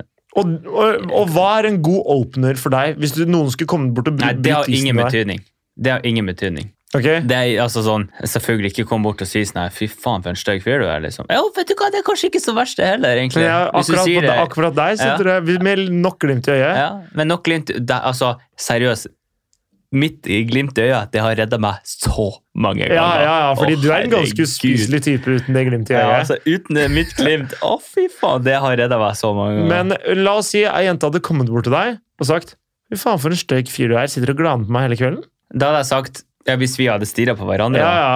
Speaker 2: Og, og, og hva er en god opener for deg, hvis du, noen skulle komme bort og bry-
Speaker 1: Nei, det har
Speaker 2: bryte isen
Speaker 1: ingen
Speaker 2: med deg?
Speaker 1: betydning. Det har ingen betydning.
Speaker 2: Ok?
Speaker 1: Det er altså sånn, Selvfølgelig ikke kom bort og si sånn her, fy faen for en stygg fyr du er. liksom. Ja, vet du hva, Det er kanskje ikke så verst, det heller.
Speaker 2: Men
Speaker 1: egentlig.
Speaker 2: jeg,
Speaker 1: Hvis du
Speaker 2: akkurat,
Speaker 1: sier
Speaker 2: på,
Speaker 1: det-
Speaker 2: akkurat deg, så
Speaker 1: Ja.
Speaker 2: tror jeg vi- med nok glimt i øyet.
Speaker 1: Ja, men nok glimt det, Altså, seriøst. Mitt i glimt i øyet, det har redda meg så mange ganger.
Speaker 2: Ja, ja, ja, fordi
Speaker 1: Å,
Speaker 2: du er en ganske
Speaker 1: herregud.
Speaker 2: uspiselig type uten det glimtet i
Speaker 1: Ja,
Speaker 2: øyet.
Speaker 1: altså, uten det mitt glimt Å, fy faen, det har redda meg så mange ganger.
Speaker 2: Men eh, la oss si ei jente hadde kommet bort til deg og sagt Fy faen, for en støyk fyr du er. Sitter og glaner på meg hele kvelden.
Speaker 1: Da hadde jeg sagt ja, Hvis vi hadde stirra på hverandre,
Speaker 2: Ja,
Speaker 1: da,
Speaker 2: ja.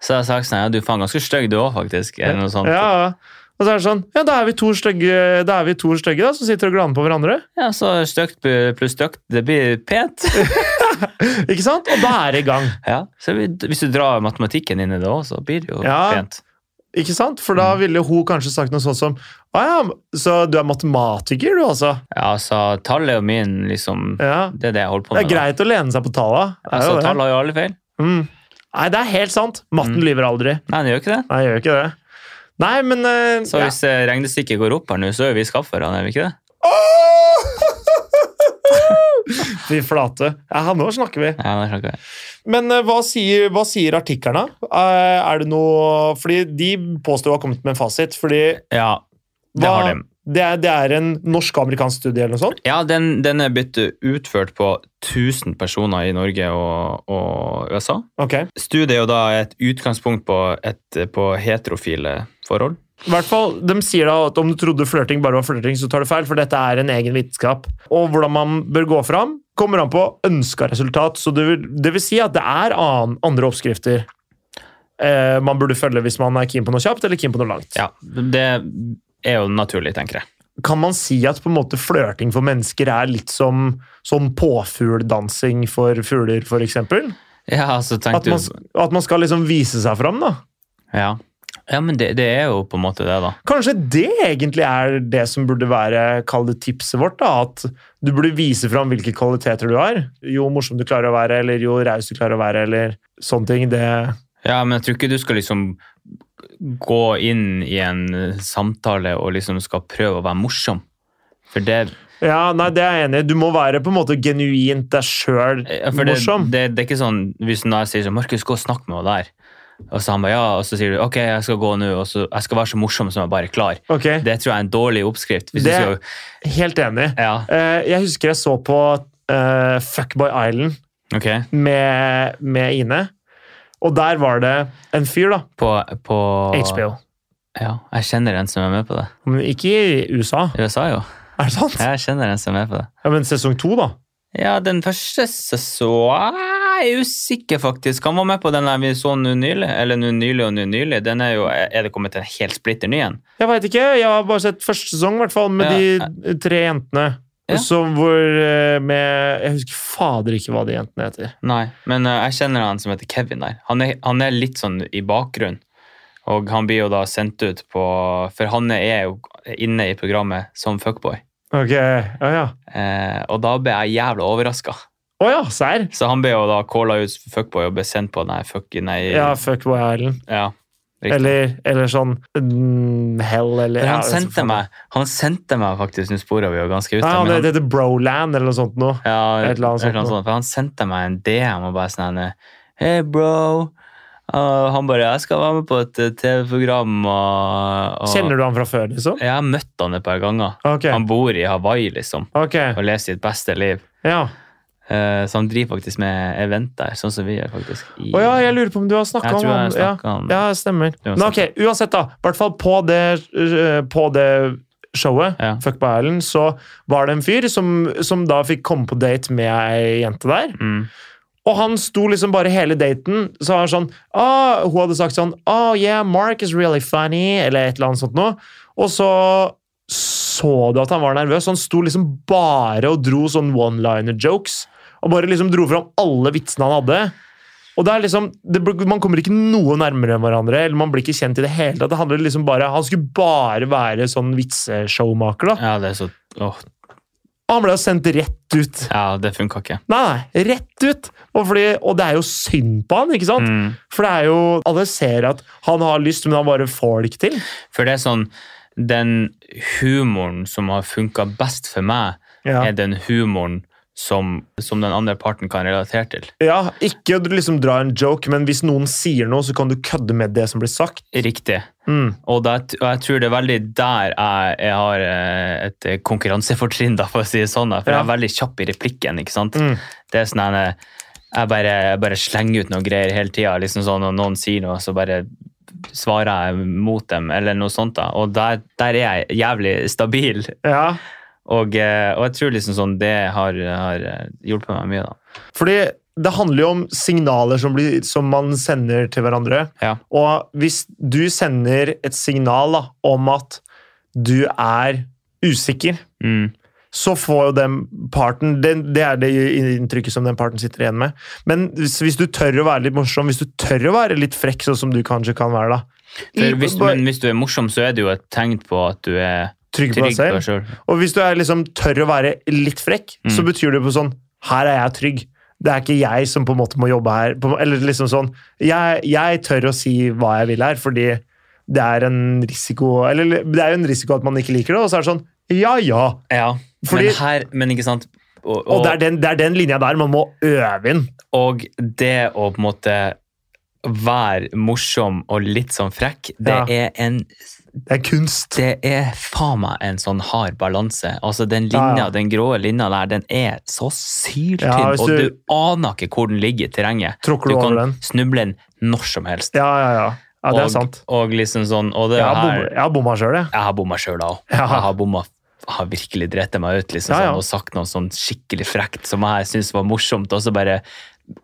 Speaker 1: så hadde jeg sagt sånn, ja, du er faen ganske stygg du òg, faktisk. Eller noe sånt.
Speaker 2: ja, ja. Og så er det sånn Ja, da er vi to stygge, da er vi to stygge da, som sitter og glaner på hverandre.
Speaker 1: Ja, så stygt pluss stygt, det blir pent.
Speaker 2: Ikke sant? Og da er det i gang.
Speaker 1: Ja, så vi- Hvis du drar matematikken inn i det òg, så blir det jo
Speaker 2: Ja.
Speaker 1: pent.
Speaker 2: Ikke sant? For
Speaker 1: Mm.
Speaker 2: da ville hun kanskje sagt noe sånt som Å ja, så du er matematiker, du, altså?
Speaker 1: Ja, altså, Tall er jo min, liksom.
Speaker 2: Ja.
Speaker 1: Det er det jeg holder på
Speaker 2: Det
Speaker 1: med.
Speaker 2: er
Speaker 1: da.
Speaker 2: greit å lene seg på talla. Det er
Speaker 1: Altså,
Speaker 2: jo
Speaker 1: Tall
Speaker 2: det.
Speaker 1: har jo alle feil.
Speaker 2: Mm. Nei, det er helt sant. Matten
Speaker 1: Mm.
Speaker 2: lyver aldri.
Speaker 1: Nei, det gjør ikke det.
Speaker 2: Nei, jeg gjør ikke det. Nei, men eh,
Speaker 1: Så
Speaker 2: ja.
Speaker 1: hvis eh, regnestykket går opp her nå, så er vi skafferne, er vi ikke det?
Speaker 2: Fy flate. Ja, nå snakker vi.
Speaker 1: Ja, det skjønner jeg.
Speaker 2: Men eh, hva sier, hva sier artiklene? Eh, Er det noe Fordi de påstår å ha kommet med en fasit. Fordi
Speaker 1: ja det
Speaker 2: hva,
Speaker 1: har de.
Speaker 2: det, er, det er en norsk-amerikansk studie eller noe sånt?
Speaker 1: Ja, den, den er blitt utført på 1000 personer i Norge og, og USA.
Speaker 2: Ok.
Speaker 1: Studiet er jo da et utgangspunkt på, et, på heterofile forhold.
Speaker 2: I hvert fall, De sier da at om du trodde flørting bare var flørting, så tar du feil, for dette er en egen vitenskap. Og hvordan man bør gå fram, kommer an på ønska resultat. Så det vil, det vil si at det er annen, andre oppskrifter eh, man burde følge hvis man er keen på noe kjapt eller keen på noe langt.
Speaker 1: Ja, det er jo naturlig, tenker jeg.
Speaker 2: Kan man si at på en måte flørting for mennesker er litt som, som påfugldansing for fugler, f.eks.?
Speaker 1: Ja, altså,
Speaker 2: At,
Speaker 1: tenkte
Speaker 2: man
Speaker 1: du...
Speaker 2: s- at man skal liksom vise seg fram, da?
Speaker 1: Ja. ja, men det, det er jo på en måte det, da.
Speaker 2: Kanskje det egentlig er det som burde være kall det tipset vårt? da, At du burde vise fram hvilke kvaliteter du har. Jo morsom du klarer å være, eller jo raus du klarer å være, eller sånne ting. Det
Speaker 1: Ja, men jeg tror ikke du skal liksom gå inn i en eh, samtale og liksom skal prøve å være morsom. For det,
Speaker 2: Ja, nei, det er jeg enig i. Du må være på en måte genuint deg sjøl
Speaker 1: ja, eh, for det,
Speaker 2: morsom.
Speaker 1: det, det er ikke sånn Hvis når jeg sier sånn 'Markus, gå og snakk med henne der', og så han bare 'ja', og så sier du 'ok, jeg skal gå nå', og så 'jeg skal være så morsom som jeg bare klarer'.
Speaker 2: Ok,
Speaker 1: Det tror jeg er en dårlig oppskrift. Hvis
Speaker 2: Det-
Speaker 1: du skal,
Speaker 2: Helt enig.
Speaker 1: ja,
Speaker 2: Eh, jeg husker jeg så på eh, Fuckboy Island
Speaker 1: ok.
Speaker 2: med, med Ine. Og der var det en fyr, da.
Speaker 1: På, på
Speaker 2: HBO.
Speaker 1: Ja, jeg kjenner en som er med på det.
Speaker 2: Men ikke i USA,
Speaker 1: I USA, jo.
Speaker 2: er det sant?
Speaker 1: Ja, Jeg kjenner en som er med på det.
Speaker 2: Ja, men sesong to, da.
Speaker 1: Ja, den første sesongen Jeg er usikker, faktisk. Han var med på den der vi så nå nylig. Eller nå nylig og nå nylig. Den er jo Er det kommet en helt splitter ny en?
Speaker 2: Jeg veit ikke. Jeg har bare sett første sesong, i hvert fall, med
Speaker 1: Ja.
Speaker 2: de tre jentene.
Speaker 1: Ja.
Speaker 2: Så hvor eh, med Jeg husker fader ikke hva de jentene heter.
Speaker 1: Nei. Men eh, jeg kjenner han som heter Kevin der. Han er, han er litt sånn i bakgrunnen. Og han blir jo da sendt ut på For han er jo inne i programmet som fuckboy.
Speaker 2: Ok, ja, ja.
Speaker 1: Eh, og da ble jeg jævla overraska.
Speaker 2: Å ja, serr?
Speaker 1: Så han ble jo da calla ut som fuckboy og ble sendt på den her fuck... Nei,
Speaker 2: Ja, Fuckboy Island.
Speaker 1: ja, riktig.
Speaker 2: Eller, eller sånn mm, Hell, eller
Speaker 1: Men han,
Speaker 2: ja,
Speaker 1: sendte meg, han sendte meg faktisk Nå sporer vi jo ganske ut.
Speaker 2: Nei,
Speaker 1: her,
Speaker 2: han
Speaker 1: men han-
Speaker 2: heter Broland, eller noe sånt noe.
Speaker 1: Ja,
Speaker 2: Et eller annet sånt
Speaker 1: et eller annet sånt. For han sendte meg en DM og bare sånn Hei, bro. Og han bare Jeg skal være med på et eh, TV-program og, og
Speaker 2: Kjenner du han fra før, liksom?
Speaker 1: Jeg har møtt han et par ganger.
Speaker 2: Ok.
Speaker 1: Han bor i Hawaii, liksom,
Speaker 2: ok,
Speaker 1: og lever sitt beste liv.
Speaker 2: ja.
Speaker 1: Eh, Så han driver faktisk med event der, sånn som vi gjør, faktisk. i-
Speaker 2: Å ja, jeg lurer på om du har snakka
Speaker 1: Jeg
Speaker 2: om
Speaker 1: tror jeg
Speaker 2: han. Ja.
Speaker 1: snakket om-
Speaker 2: ja, stemmer.
Speaker 1: Du har
Speaker 2: Men ok, uansett, da. I hvert fall på det, øh, på det showet,
Speaker 1: Ja.
Speaker 2: Fuck by Island, så var det en fyr som, som da fikk komme på date med ei jente der.
Speaker 1: mm.
Speaker 2: Og han sto liksom bare hele daten så var han sånn ah, Hun hadde sagt sånn Oh yeah, Mark is really funny, eller et eller annet sånt noe. Og så så du at han var nervøs. Han sto liksom bare og dro sånn one-liner jokes. Og bare liksom dro fram alle vitsene han hadde. Og det er liksom, det, blir- Man kommer ikke noe nærmere enn hverandre. eller man blir ikke kjent i det hele tatt. Det handler liksom bare, Han skulle bare være sånn vitseshowmaker. da.
Speaker 1: Ja, det er så Åh,
Speaker 2: Og han ble jo sendt rett ut.
Speaker 1: ja, det funka ikke.
Speaker 2: Nei, rett ut! Og, fordi, og det er jo synd på han, ikke sant?
Speaker 1: Mm.
Speaker 2: For det er jo, alle ser at han har lyst, men han bare får det ikke til.
Speaker 1: For det er sånn Den humoren som har funka best for meg,
Speaker 2: Ja,
Speaker 1: er den humoren som, som den andre parten kan relatere til.
Speaker 2: ja Ikke å liksom dra en joke, men hvis noen sier noe, så kan du kødde med det som blir sagt.
Speaker 1: Riktig.
Speaker 2: Mm.
Speaker 1: Og, da, og jeg tror det er veldig der jeg, jeg har eh, et konkurransefortrinn, da, for å si det sånn. da. For jeg
Speaker 2: Ja.
Speaker 1: er veldig kjapp i replikken. ikke sant?
Speaker 2: Mm.
Speaker 1: Det er sånn her, jeg bare, jeg bare slenger ut noen greier hele tida. Liksom sånn, når noen sier noe, så bare svarer jeg mot dem, eller noe sånt. da. Og der, der er jeg jævlig stabil.
Speaker 2: Ja,
Speaker 1: Og, eh, og jeg tror liksom sånn det har, har eh, hjulpet meg mye, da.
Speaker 2: fordi det handler jo om signaler som, blir, som man sender til hverandre.
Speaker 1: Ja.
Speaker 2: Og hvis du sender et signal da, om at du er usikker,
Speaker 1: Mm.
Speaker 2: så får jo den parten det, det er det inntrykket som den parten sitter igjen med. Men hvis, hvis du tør å være litt morsom, hvis du tør å være litt frekk, sånn som du kanskje kan være, da
Speaker 1: For hvis,
Speaker 2: Bare
Speaker 1: men hvis du er morsom, så er det jo et tegn på at du er
Speaker 2: Trygg på deg selv.
Speaker 1: sjøl.
Speaker 2: Og hvis du er liksom tør å være litt frekk, så betyr det på sånn Her er jeg trygg. Det er ikke jeg som på en måte må jobbe her. På, eller liksom sånn jeg, jeg tør å si hva jeg vil her, fordi det er en risiko Eller det er jo en risiko at man ikke liker det, og så er det sånn Ja, ja.
Speaker 1: Ja.
Speaker 2: Fordi-
Speaker 1: men her, men ikke sant og,
Speaker 2: Og
Speaker 1: og,
Speaker 2: det er den, det er den linja der man må øve inn.
Speaker 1: og det å på en måte være morsom og litt sånn frekk, det
Speaker 2: Ja.
Speaker 1: er en
Speaker 2: Det er kunst.
Speaker 1: Det er faen meg en sånn hard balanse. Altså Den
Speaker 2: Ja,
Speaker 1: linja,
Speaker 2: ja.
Speaker 1: den grå linja der, den er så syltynn,
Speaker 2: Ja, hvis
Speaker 1: og
Speaker 2: du-
Speaker 1: du aner ikke hvor den ligger i terrenget.
Speaker 2: Tråkker
Speaker 1: Du
Speaker 2: du
Speaker 1: kan
Speaker 2: over den?
Speaker 1: snuble den når som helst.
Speaker 2: Ja, ja, ja. Ja, Det er
Speaker 1: og,
Speaker 2: sant.
Speaker 1: Og liksom sånn, og det
Speaker 2: Jeg har
Speaker 1: her,
Speaker 2: bomma- jeg har bomma sjøl, jeg.
Speaker 1: jeg har bomma sjøl da òg.
Speaker 2: Ja.
Speaker 1: Jeg har bomma jeg har virkelig drept meg ut liksom,
Speaker 2: Ja, ja.
Speaker 1: Sånn, og sagt noe sånn skikkelig frekt som jeg syntes var morsomt, og så bare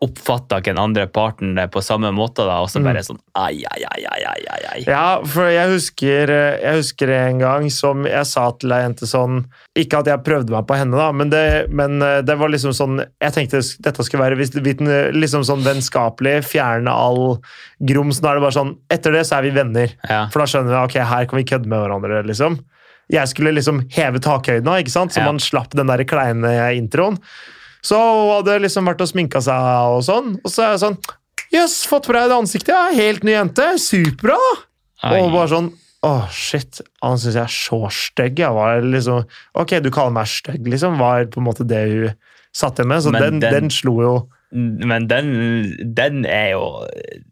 Speaker 1: oppfatta ikke den andre parten det på samme måte, da, og så bare sånn ai, ai, ai, ai, ai, ai, ai.
Speaker 2: Mm. Ja, for jeg husker, eh, jeg husker en gang som jeg sa til ei jente sånn Ikke at jeg prøvde meg på henne, da, men det, men det var liksom sånn Jeg tenkte dette skulle være vis- viten- liksom sånn vennskapelig, fjerne all grums. Nå er det bare sånn Etter det så er vi venner.
Speaker 1: Ja.
Speaker 2: For da skjønner vi ok, her kan vi kødde med hverandre. liksom. Jeg skulle liksom heve takhøyden, også, ikke sant? så
Speaker 1: Ja.
Speaker 2: man slapp den der kleine introen. Så hun hadde liksom vært og sminka seg og sånn, og så er jeg sånn Jøss, fått på deg det ansiktet, ja. Helt ny jente. Superbra, da!
Speaker 1: Ai.
Speaker 2: Og bare sånn Å, shit. Han syns jeg er så stygg. Jeg var liksom Ok, du kaller meg stygg, liksom. Var på en måte det hun satt igjen med. Så
Speaker 1: Men
Speaker 2: den,
Speaker 1: den-
Speaker 2: den, slo jo
Speaker 1: Men den, den er jo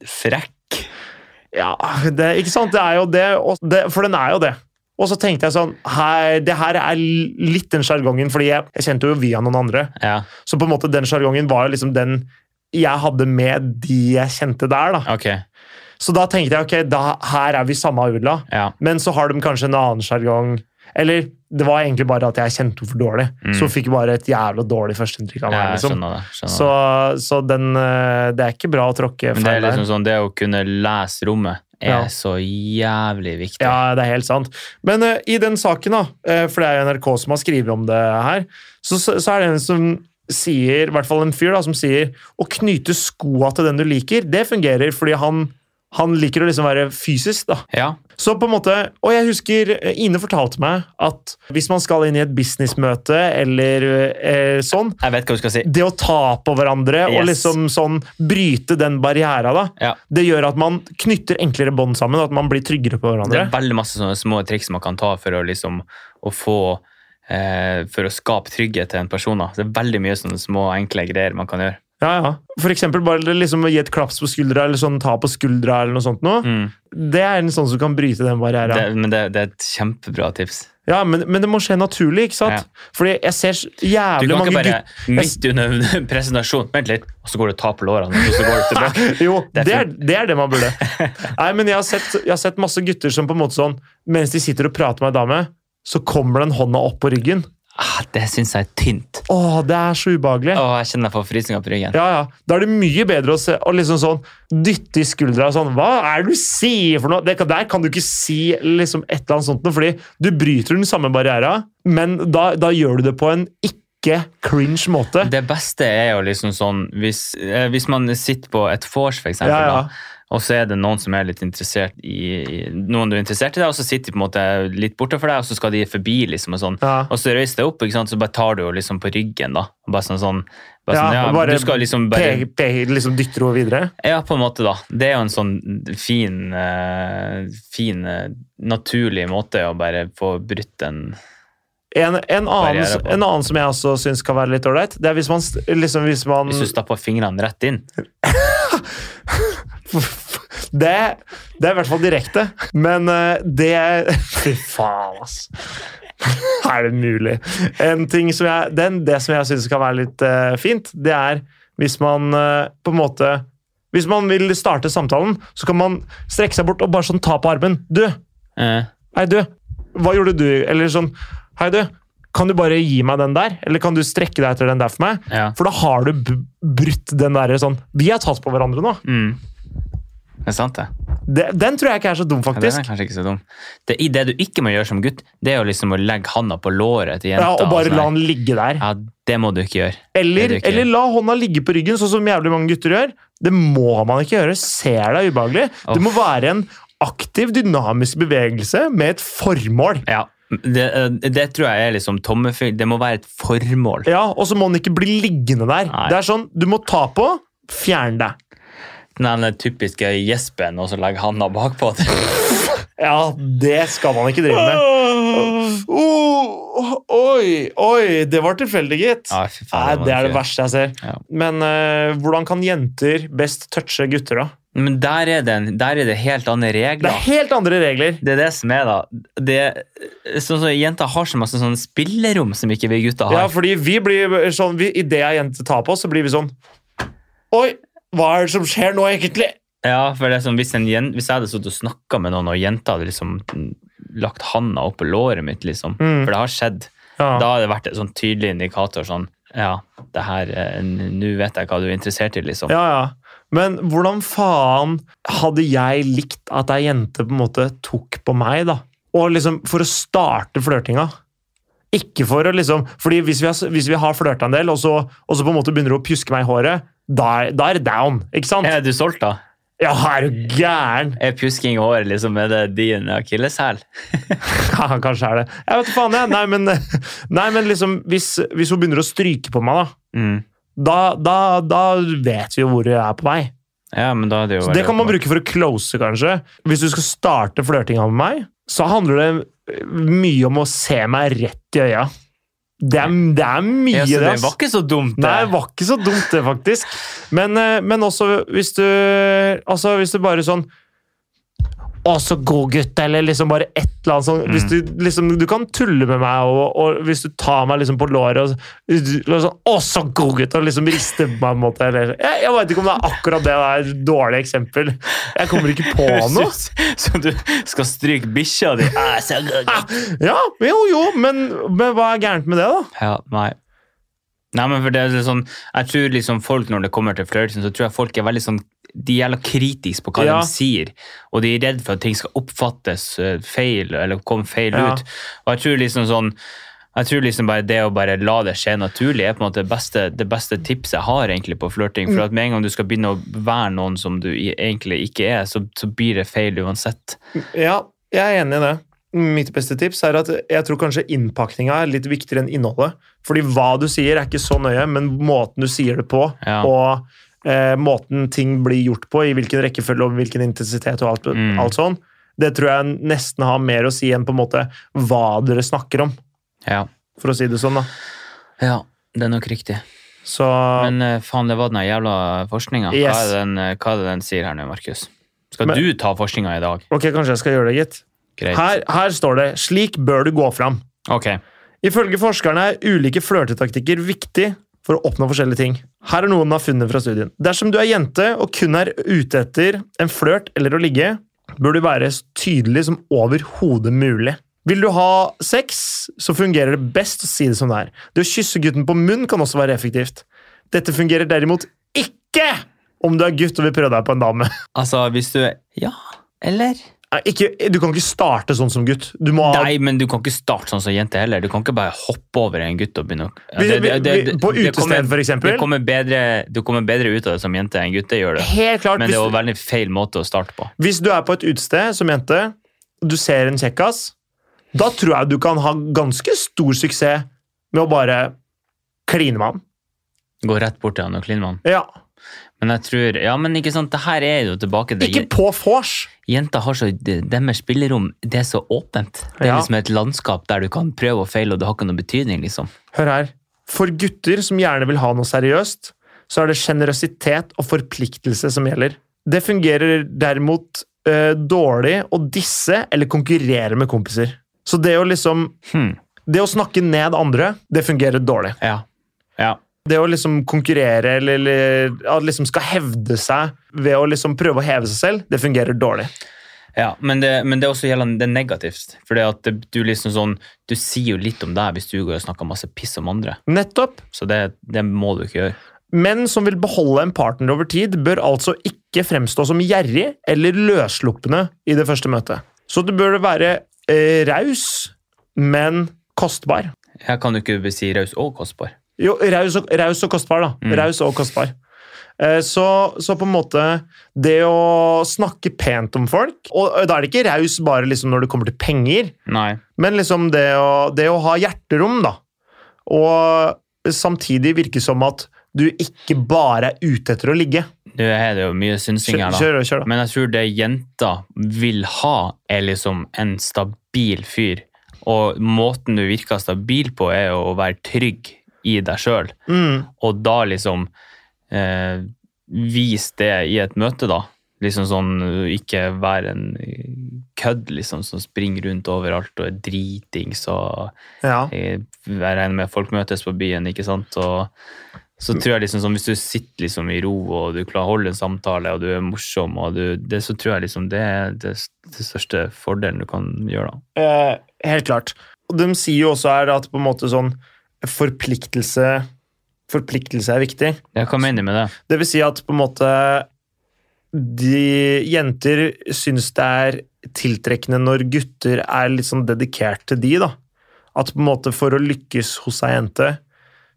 Speaker 1: frekk.
Speaker 2: Ja, det, ikke sant? Det er jo det, og det. For den er jo det. Og så tenkte jeg sånn hei, Det her er litt den sjargongen, fordi jeg, jeg kjente jo via noen andre.
Speaker 1: Ja,
Speaker 2: Så på en måte den sjargongen var jo liksom den jeg hadde med de jeg kjente der. da.
Speaker 1: ok.
Speaker 2: Så da tenkte jeg ok, da, her er vi samme aula.
Speaker 1: Ja.
Speaker 2: Men så har de kanskje en annen sjargong. Eller det var egentlig bare at jeg kjente henne for dårlig.
Speaker 1: Mm.
Speaker 2: Så hun fikk bare et jævla dårlig førsteinntrykk av
Speaker 1: Ja,
Speaker 2: meg.
Speaker 1: jeg
Speaker 2: liksom.
Speaker 1: skjønner det. Skjønner
Speaker 2: Så, så den, eh, det er ikke bra å tråkke
Speaker 1: det. Men det er
Speaker 2: feil
Speaker 1: liksom
Speaker 2: der.
Speaker 1: sånn, det å kunne lese rommet er
Speaker 2: Ja.
Speaker 1: så jævlig viktig.
Speaker 2: Ja, det er helt sant. Men eh, i den saken, da, eh, for det er jo NRK som har skrevet om det her, så, så, så er det en som sier, i hvert fall en fyr da, som sier å knyte skoa til den du liker, det fungerer fordi han, han liker å liksom være fysisk, da.
Speaker 1: Ja.
Speaker 2: Så på en måte, og jeg husker eh, Ine fortalte meg at hvis man skal inn i et businessmøte eller eh, sånn,
Speaker 1: Jeg vet hva du skal si.
Speaker 2: det å ta på hverandre og
Speaker 1: Yes.
Speaker 2: liksom sånn bryte den barriera, da,
Speaker 1: Ja.
Speaker 2: det gjør at man knytter enklere bånd sammen, at man blir tryggere på
Speaker 1: Det
Speaker 2: hverandre.
Speaker 1: er veldig masse sånne små triks man kan ta for å liksom å få eh, For å skape trygghet til en person. Da. Det er veldig mye sånne små, enkle greier man kan gjøre.
Speaker 2: Ja, ja. For eksempel bare liksom gi et klaps på skuldra, eller sånn ta på skuldra, eller noe sånt noe.
Speaker 1: Mm.
Speaker 2: Det er en sånn som kan bryte den barriera.
Speaker 1: Det, men det, det er et kjempebra tips.
Speaker 2: Ja, men, men det må skje naturlig, ikke sant? Fordi jeg ser så
Speaker 1: Du
Speaker 2: jævlig
Speaker 1: kan
Speaker 2: mange
Speaker 1: ikke bare
Speaker 2: gutter
Speaker 1: midt under en presentasjon Vent litt, og så går du og tar på lårene, og så går du tilbake.
Speaker 2: Jo, det
Speaker 1: Det er
Speaker 2: er, det er det man burde. Nei, men jeg har, sett, jeg har sett masse gutter som på en måte sånn Mens de sitter og prater med ei dame, så kommer den hånda opp på ryggen.
Speaker 1: Ah, det syns jeg er tynt.
Speaker 2: Å, det er så ubehagelig.
Speaker 1: Å, jeg kjenner jeg får frysninger på ryggen.
Speaker 2: Ja, ja. Da er det mye bedre å se, å liksom sånn dytte i skuldra og sånn Hva er det du sier for noe? Det, kan- der kan du ikke si liksom et eller annet sånt noe, fordi du bryter den samme barriera, men da, da gjør du det på en ikke ikke cringe måte.
Speaker 1: Det beste er jo liksom sånn Hvis, eh, hvis man sitter på et vors, for eksempel,
Speaker 2: Ja, ja.
Speaker 1: da, og så er det noen som er litt interessert i, i noen du er interessert i, da, og så sitter de på en måte litt borte for deg, og så skal de forbi, liksom, og sånn.
Speaker 2: Ja.
Speaker 1: Og så reiser du deg opp, ikke sant? så bare tar du jo liksom på ryggen, da. Og Bare sånn sånn bare
Speaker 2: Ja,
Speaker 1: sånn, ja,
Speaker 2: og bare
Speaker 1: Du skal liksom bare
Speaker 2: Pe, pe, liksom dytter henne videre.
Speaker 1: Ja, på en måte, da. Det er jo en sånn fin, eh, fin eh, naturlig måte å bare få brutt den
Speaker 2: En, en,
Speaker 1: Barriere
Speaker 2: annen,
Speaker 1: på.
Speaker 2: en annen som jeg også syns kan være litt ålreit, det er hvis man s- liksom hvis man
Speaker 1: Hvis du stapper fingrene rett inn.
Speaker 2: det, det er i hvert fall direkte, men eh, det Fy faen, ass. Er det mulig? En ting som jeg, den, det som jeg syns kan være litt eh, fint, det er hvis man eh, på en måte Hvis man vil starte samtalen, så kan man strekke seg bort og bare sånn ta på armen. Du,
Speaker 1: Eh,
Speaker 2: Hei, du. Hva gjorde du? Eller sånn Hei, du. Kan du bare gi meg den der? Eller kan du strekke deg etter den der for meg?
Speaker 1: ja.
Speaker 2: For da har du b- brutt den derre sånn Vi har tatt på hverandre nå.
Speaker 1: Mm. Det er sant, det.
Speaker 2: Det, den tror jeg ikke er så
Speaker 1: Ja,
Speaker 2: dum,
Speaker 1: den
Speaker 2: faktisk.
Speaker 1: er kanskje ikke så dum. Det, i det du ikke må gjøre som gutt, det er jo liksom å legge handa på låret til jenta.
Speaker 2: Ja, Og bare
Speaker 1: sånn
Speaker 2: la
Speaker 1: her.
Speaker 2: den ligge der.
Speaker 1: Ja, det må du ikke gjøre. det
Speaker 2: Eller,
Speaker 1: er det ikke.
Speaker 2: eller la hånda ligge på ryggen, sånn som jævlig mange gutter gjør. Det må man ikke gjøre. Ser deg ubehagelig. Det må være en aktiv, dynamisk bevegelse med et formål.
Speaker 1: Ja, det, eh, det tror jeg er liksom tommefyll. Det må være et formål.
Speaker 2: Ja, Og så må den ikke bli liggende der.
Speaker 1: Nei.
Speaker 2: Det er sånn, Du må ta på, fjerne deg.
Speaker 1: Den der typiske gjespen, og så legge handa bakpå.
Speaker 2: Ja, det skal man ikke drive med. Oh, oi, oi, det var tilfeldig, gitt.
Speaker 1: Ja, fy
Speaker 2: Nei,
Speaker 1: faen, må du
Speaker 2: det er det
Speaker 1: ikke gjøre.
Speaker 2: verste jeg ser.
Speaker 1: Ja.
Speaker 2: Men eh, hvordan kan jenter best touche gutter, da?
Speaker 1: Men der er, det, en- der er det helt andre
Speaker 2: Det er
Speaker 1: regler.
Speaker 2: helt andre regler.
Speaker 1: Det er det som er, da. Det, sånn som Jenter har så masse sånn spillerom som ikke vi gutter har.
Speaker 2: Ja, fordi vi blir sånn vi, Idet ei jente tar på oss, så blir vi sånn Oi, hva er det som skjer nå, egentlig?
Speaker 1: Ja, for det er sånn, hvis, en jen, hvis jeg hadde sittet og snakka med noen, og jenta hadde liksom lagt handa oppå låret mitt, liksom,
Speaker 2: Mm.
Speaker 1: for det har skjedd,
Speaker 2: Ja.
Speaker 1: da hadde det vært en sånn tydelig indikator sånn Ja, det her eh, n- Nå vet jeg hva du er interessert i, liksom.
Speaker 2: Ja, ja. Men hvordan faen hadde jeg likt at ei jente på en måte tok på meg, da? Og liksom for å starte flørtinga. Ikke for å liksom Fordi hvis vi har, hvis vi har flørta en del, og så, og så på en måte begynner du å pjuske meg i håret, da er, da er det down, ikke sant?
Speaker 1: Er du solgt, da?
Speaker 2: Ja, er du gæren?
Speaker 1: Er pjusking i håret liksom, er det din akilleshæl?
Speaker 2: Ja, kanskje er det. Jeg vet da faen, jeg. Nei, men, nei, men liksom, hvis, hvis hun begynner å stryke på meg, da,
Speaker 1: Mm.
Speaker 2: da, da, da vet vi jo hvor jeg er på vei.
Speaker 1: Ja, men da er det jo
Speaker 2: Så det kan man bruke for å close, kanskje. Hvis du skal starte flørtinga med meg, så handler det eh, mye om å se meg rett i øya. Det er, det er mye,
Speaker 1: ja, så
Speaker 2: det.
Speaker 1: det
Speaker 2: ass.
Speaker 1: var ikke så dumt, det.
Speaker 2: Nei, det var ikke så dumt, det, faktisk. Men, eh, men også hvis du Altså, hvis du bare sånn å, så god gutt, eller liksom bare et eller annet sånt. Hvis du, liksom, du kan tulle med meg, og, og hvis du tar meg liksom på låret og så- og sånn, Å, så god gutt! Og liksom rister på meg på en måte. Eller, jeg, jeg veit ikke om det er akkurat det det er et dårlig eksempel. Jeg kommer ikke på noe.
Speaker 1: Høres ut som du skal stryke bikkja di. Ah, så god.
Speaker 2: Ja, jo, jo, men, men hva er gærent med det, da?
Speaker 1: Ja, nei. Nei, men for det er sånn, jeg tror liksom folk når det kommer til flørting, så tror jeg folk er veldig sånn, de er jævla kritiske på hva
Speaker 2: Ja.
Speaker 1: de sier, og de er redd for at ting skal oppfattes eh, feil, eller komme feil
Speaker 2: Ja.
Speaker 1: ut. Og jeg tror liksom sånn, jeg tror liksom bare det å bare la det skje naturlig er på en måte det beste, det beste tipset jeg har egentlig på flørting, for at med en gang du skal begynne å være noen som du i- egentlig ikke er, så, så blir det feil uansett.
Speaker 2: Ja, jeg er enig i det. Mitt beste tips er at jeg tror kanskje innpakninga er litt viktigere enn innholdet. Fordi hva du sier er ikke så nøye, men måten du sier det på,
Speaker 1: Ja.
Speaker 2: og eh, måten ting blir gjort på, i hvilken rekkefølge og hvilken intensitet og alt,
Speaker 1: Mm.
Speaker 2: alt sånn, det tror jeg nesten har mer å si enn på en måte hva dere snakker om,
Speaker 1: Ja,
Speaker 2: for å si det sånn, da.
Speaker 1: ja det er nok riktig.
Speaker 2: Så
Speaker 1: Men eh, faen, det var den jævla forskninga. Hva,
Speaker 2: Yes.
Speaker 1: er det den, eh, hva er det den sier her nå, Markus? Skal
Speaker 2: Men-
Speaker 1: du ta forskninga i dag?
Speaker 2: ok, kanskje jeg skal gjøre det, gitt.
Speaker 1: Greit.
Speaker 2: Her, her står det 'slik bør du gå fram'.
Speaker 1: Ok.
Speaker 2: Ifølge forskerne er ulike flørtetaktikker viktig for å oppnå forskjellige ting. Her er noen av funnene fra studien. Dersom du er jente og kun er ute etter en flørt eller å ligge, bør du være så tydelig som overhodet mulig. Vil du ha sex, så fungerer det best å si det som det er. Det å kysse gutten på munn kan også være effektivt. Dette fungerer derimot ikke om du er gutt og vil prøve deg på en dame.
Speaker 1: Altså, hvis du er Ja, eller?
Speaker 2: Nei, Ikke, du kan ikke starte sånn som gutt. Du må ha
Speaker 1: Nei, men du kan ikke starte sånn som jente heller. Du kan ikke bare hoppe over en gutt og begynne å Ja,
Speaker 2: Vi-
Speaker 1: det- det-
Speaker 2: vi-
Speaker 1: det-
Speaker 2: På
Speaker 1: det kommer-
Speaker 2: utested, for
Speaker 1: det
Speaker 2: eksempel.
Speaker 1: kommer bedre- Du kommer bedre ut av det som jente enn gutter gjør det.
Speaker 2: Helt klart.
Speaker 1: Men det er jo en
Speaker 2: Hvis,
Speaker 1: veldig feil måte å starte på.
Speaker 2: hvis du er på et utested som jente, og du ser en kjekkas, da tror jeg du kan ha ganske stor suksess med å bare kline med han.
Speaker 1: Gå rett bort til han og kline med han.
Speaker 2: Ja.
Speaker 1: Men jeg tror, ja, men ikke sant, det her er jo tilbake til
Speaker 2: Ikke på vors.
Speaker 1: Jenter har så, Deres spillerom det er så åpent. Det er
Speaker 2: Ja.
Speaker 1: liksom et landskap der du kan prøve og feile, og det har ikke noe betydning. liksom.
Speaker 2: Hør her. For gutter som gjerne vil ha noe seriøst, så er det sjenerøsitet og forpliktelse som gjelder. Det fungerer derimot eh, dårlig å disse eller konkurrere med kompiser. Så det å liksom
Speaker 1: Hmm.
Speaker 2: Det å snakke ned andre, det fungerer dårlig.
Speaker 1: Ja. ja.
Speaker 2: Det å liksom konkurrere eller, eller at liksom skal hevde seg ved å liksom prøve å heve seg selv, det fungerer dårlig.
Speaker 1: Ja, men det, men det er også gjelder det er negativt. For det at det- du liksom sånn, du sier jo litt om deg hvis du går og snakker masse piss om andre.
Speaker 2: Nettopp.
Speaker 1: Så det, det må du ikke gjøre.
Speaker 2: Menn som vil beholde en partner over tid, bør altså ikke fremstå som gjerrig eller løsluppende i det første møtet. Så du bør være eh, raus, men kostbar.
Speaker 1: Her kan du ikke si raus og kostbar.
Speaker 2: Jo, raus og, raus og kostbar, da.
Speaker 1: Mm.
Speaker 2: Raus og kostbar. Eh, Så, så på en måte Det å snakke pent om folk Og da er det ikke raus bare liksom når det kommer til penger,
Speaker 1: Nei.
Speaker 2: men liksom det å, det å ha hjerterom, da. Og samtidig virke som at du ikke bare er ute etter å ligge.
Speaker 1: Nå er det jo mye synsing her,
Speaker 2: Kjør,
Speaker 1: da.
Speaker 2: kjør, da, kjør da.
Speaker 1: Men jeg tror det jenter vil ha, er liksom en stabil fyr. Og måten du virker stabil på, er jo å være trygg i deg sjøl.
Speaker 2: Mm.
Speaker 1: Og da liksom eh, Vis det i et møte, da. Liksom sånn eh, Ikke være en kødd liksom, som springer rundt overalt og er dritings og
Speaker 2: Ja.
Speaker 1: eh, Jeg regner med folk møtes på byen, ikke sant? Og så tror jeg liksom sånn, Hvis du sitter liksom i ro og du klarer å holde en samtale og du er morsom, og du, det, så tror jeg liksom det er det, det største fordelen du kan gjøre. da.
Speaker 2: Eh, helt klart. Og de sier jo også her at på en måte sånn forpliktelse Forpliktelse er viktig.
Speaker 1: Ja, hva mener du med det?
Speaker 2: Det vil si at på en måte de jenter syns det er tiltrekkende når gutter er litt sånn dedikert til de, da. At på en måte for å lykkes hos ei jente,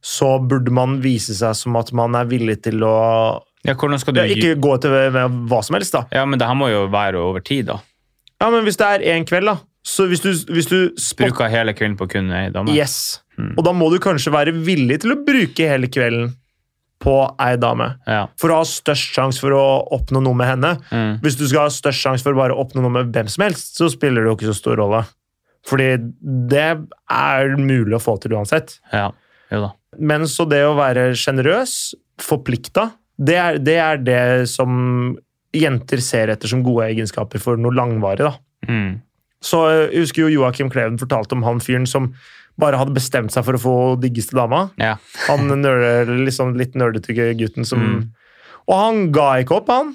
Speaker 2: så burde man vise seg som at man er villig til å
Speaker 1: Ja, hvordan skal du...
Speaker 2: ja, Ikke gå til hva som helst, da.
Speaker 1: ja, men det her må jo være over tid, da.
Speaker 2: Ja, men hvis det er én kveld, da. Så hvis du, hvis du spotter
Speaker 1: Bruker hele kvelden på kun ei dame.
Speaker 2: Yes.
Speaker 1: Mm.
Speaker 2: Og da må du kanskje være villig til å bruke hele kvelden på ei dame.
Speaker 1: Ja.
Speaker 2: For å ha størst sjanse for å oppnå noe med henne.
Speaker 1: Mm.
Speaker 2: Hvis du skal ha størst sjanse for å bare oppnå noe med hvem som helst, så spiller det jo ikke så stor rolle. Fordi det er mulig å få til uansett.
Speaker 1: Ja, jo da.
Speaker 2: Men så det å være sjenerøs, forplikta, det er, det er det som jenter ser etter som gode egenskaper for noe langvarig, da.
Speaker 1: Mm.
Speaker 2: Så jeg husker jo Joakim Kleven fortalte om han fyren som bare hadde bestemt seg for å få diggeste dama.
Speaker 1: Ja.
Speaker 2: Han nerde, liksom litt nerdete gutten som
Speaker 1: Mm.
Speaker 2: Og han ga ikke opp, han.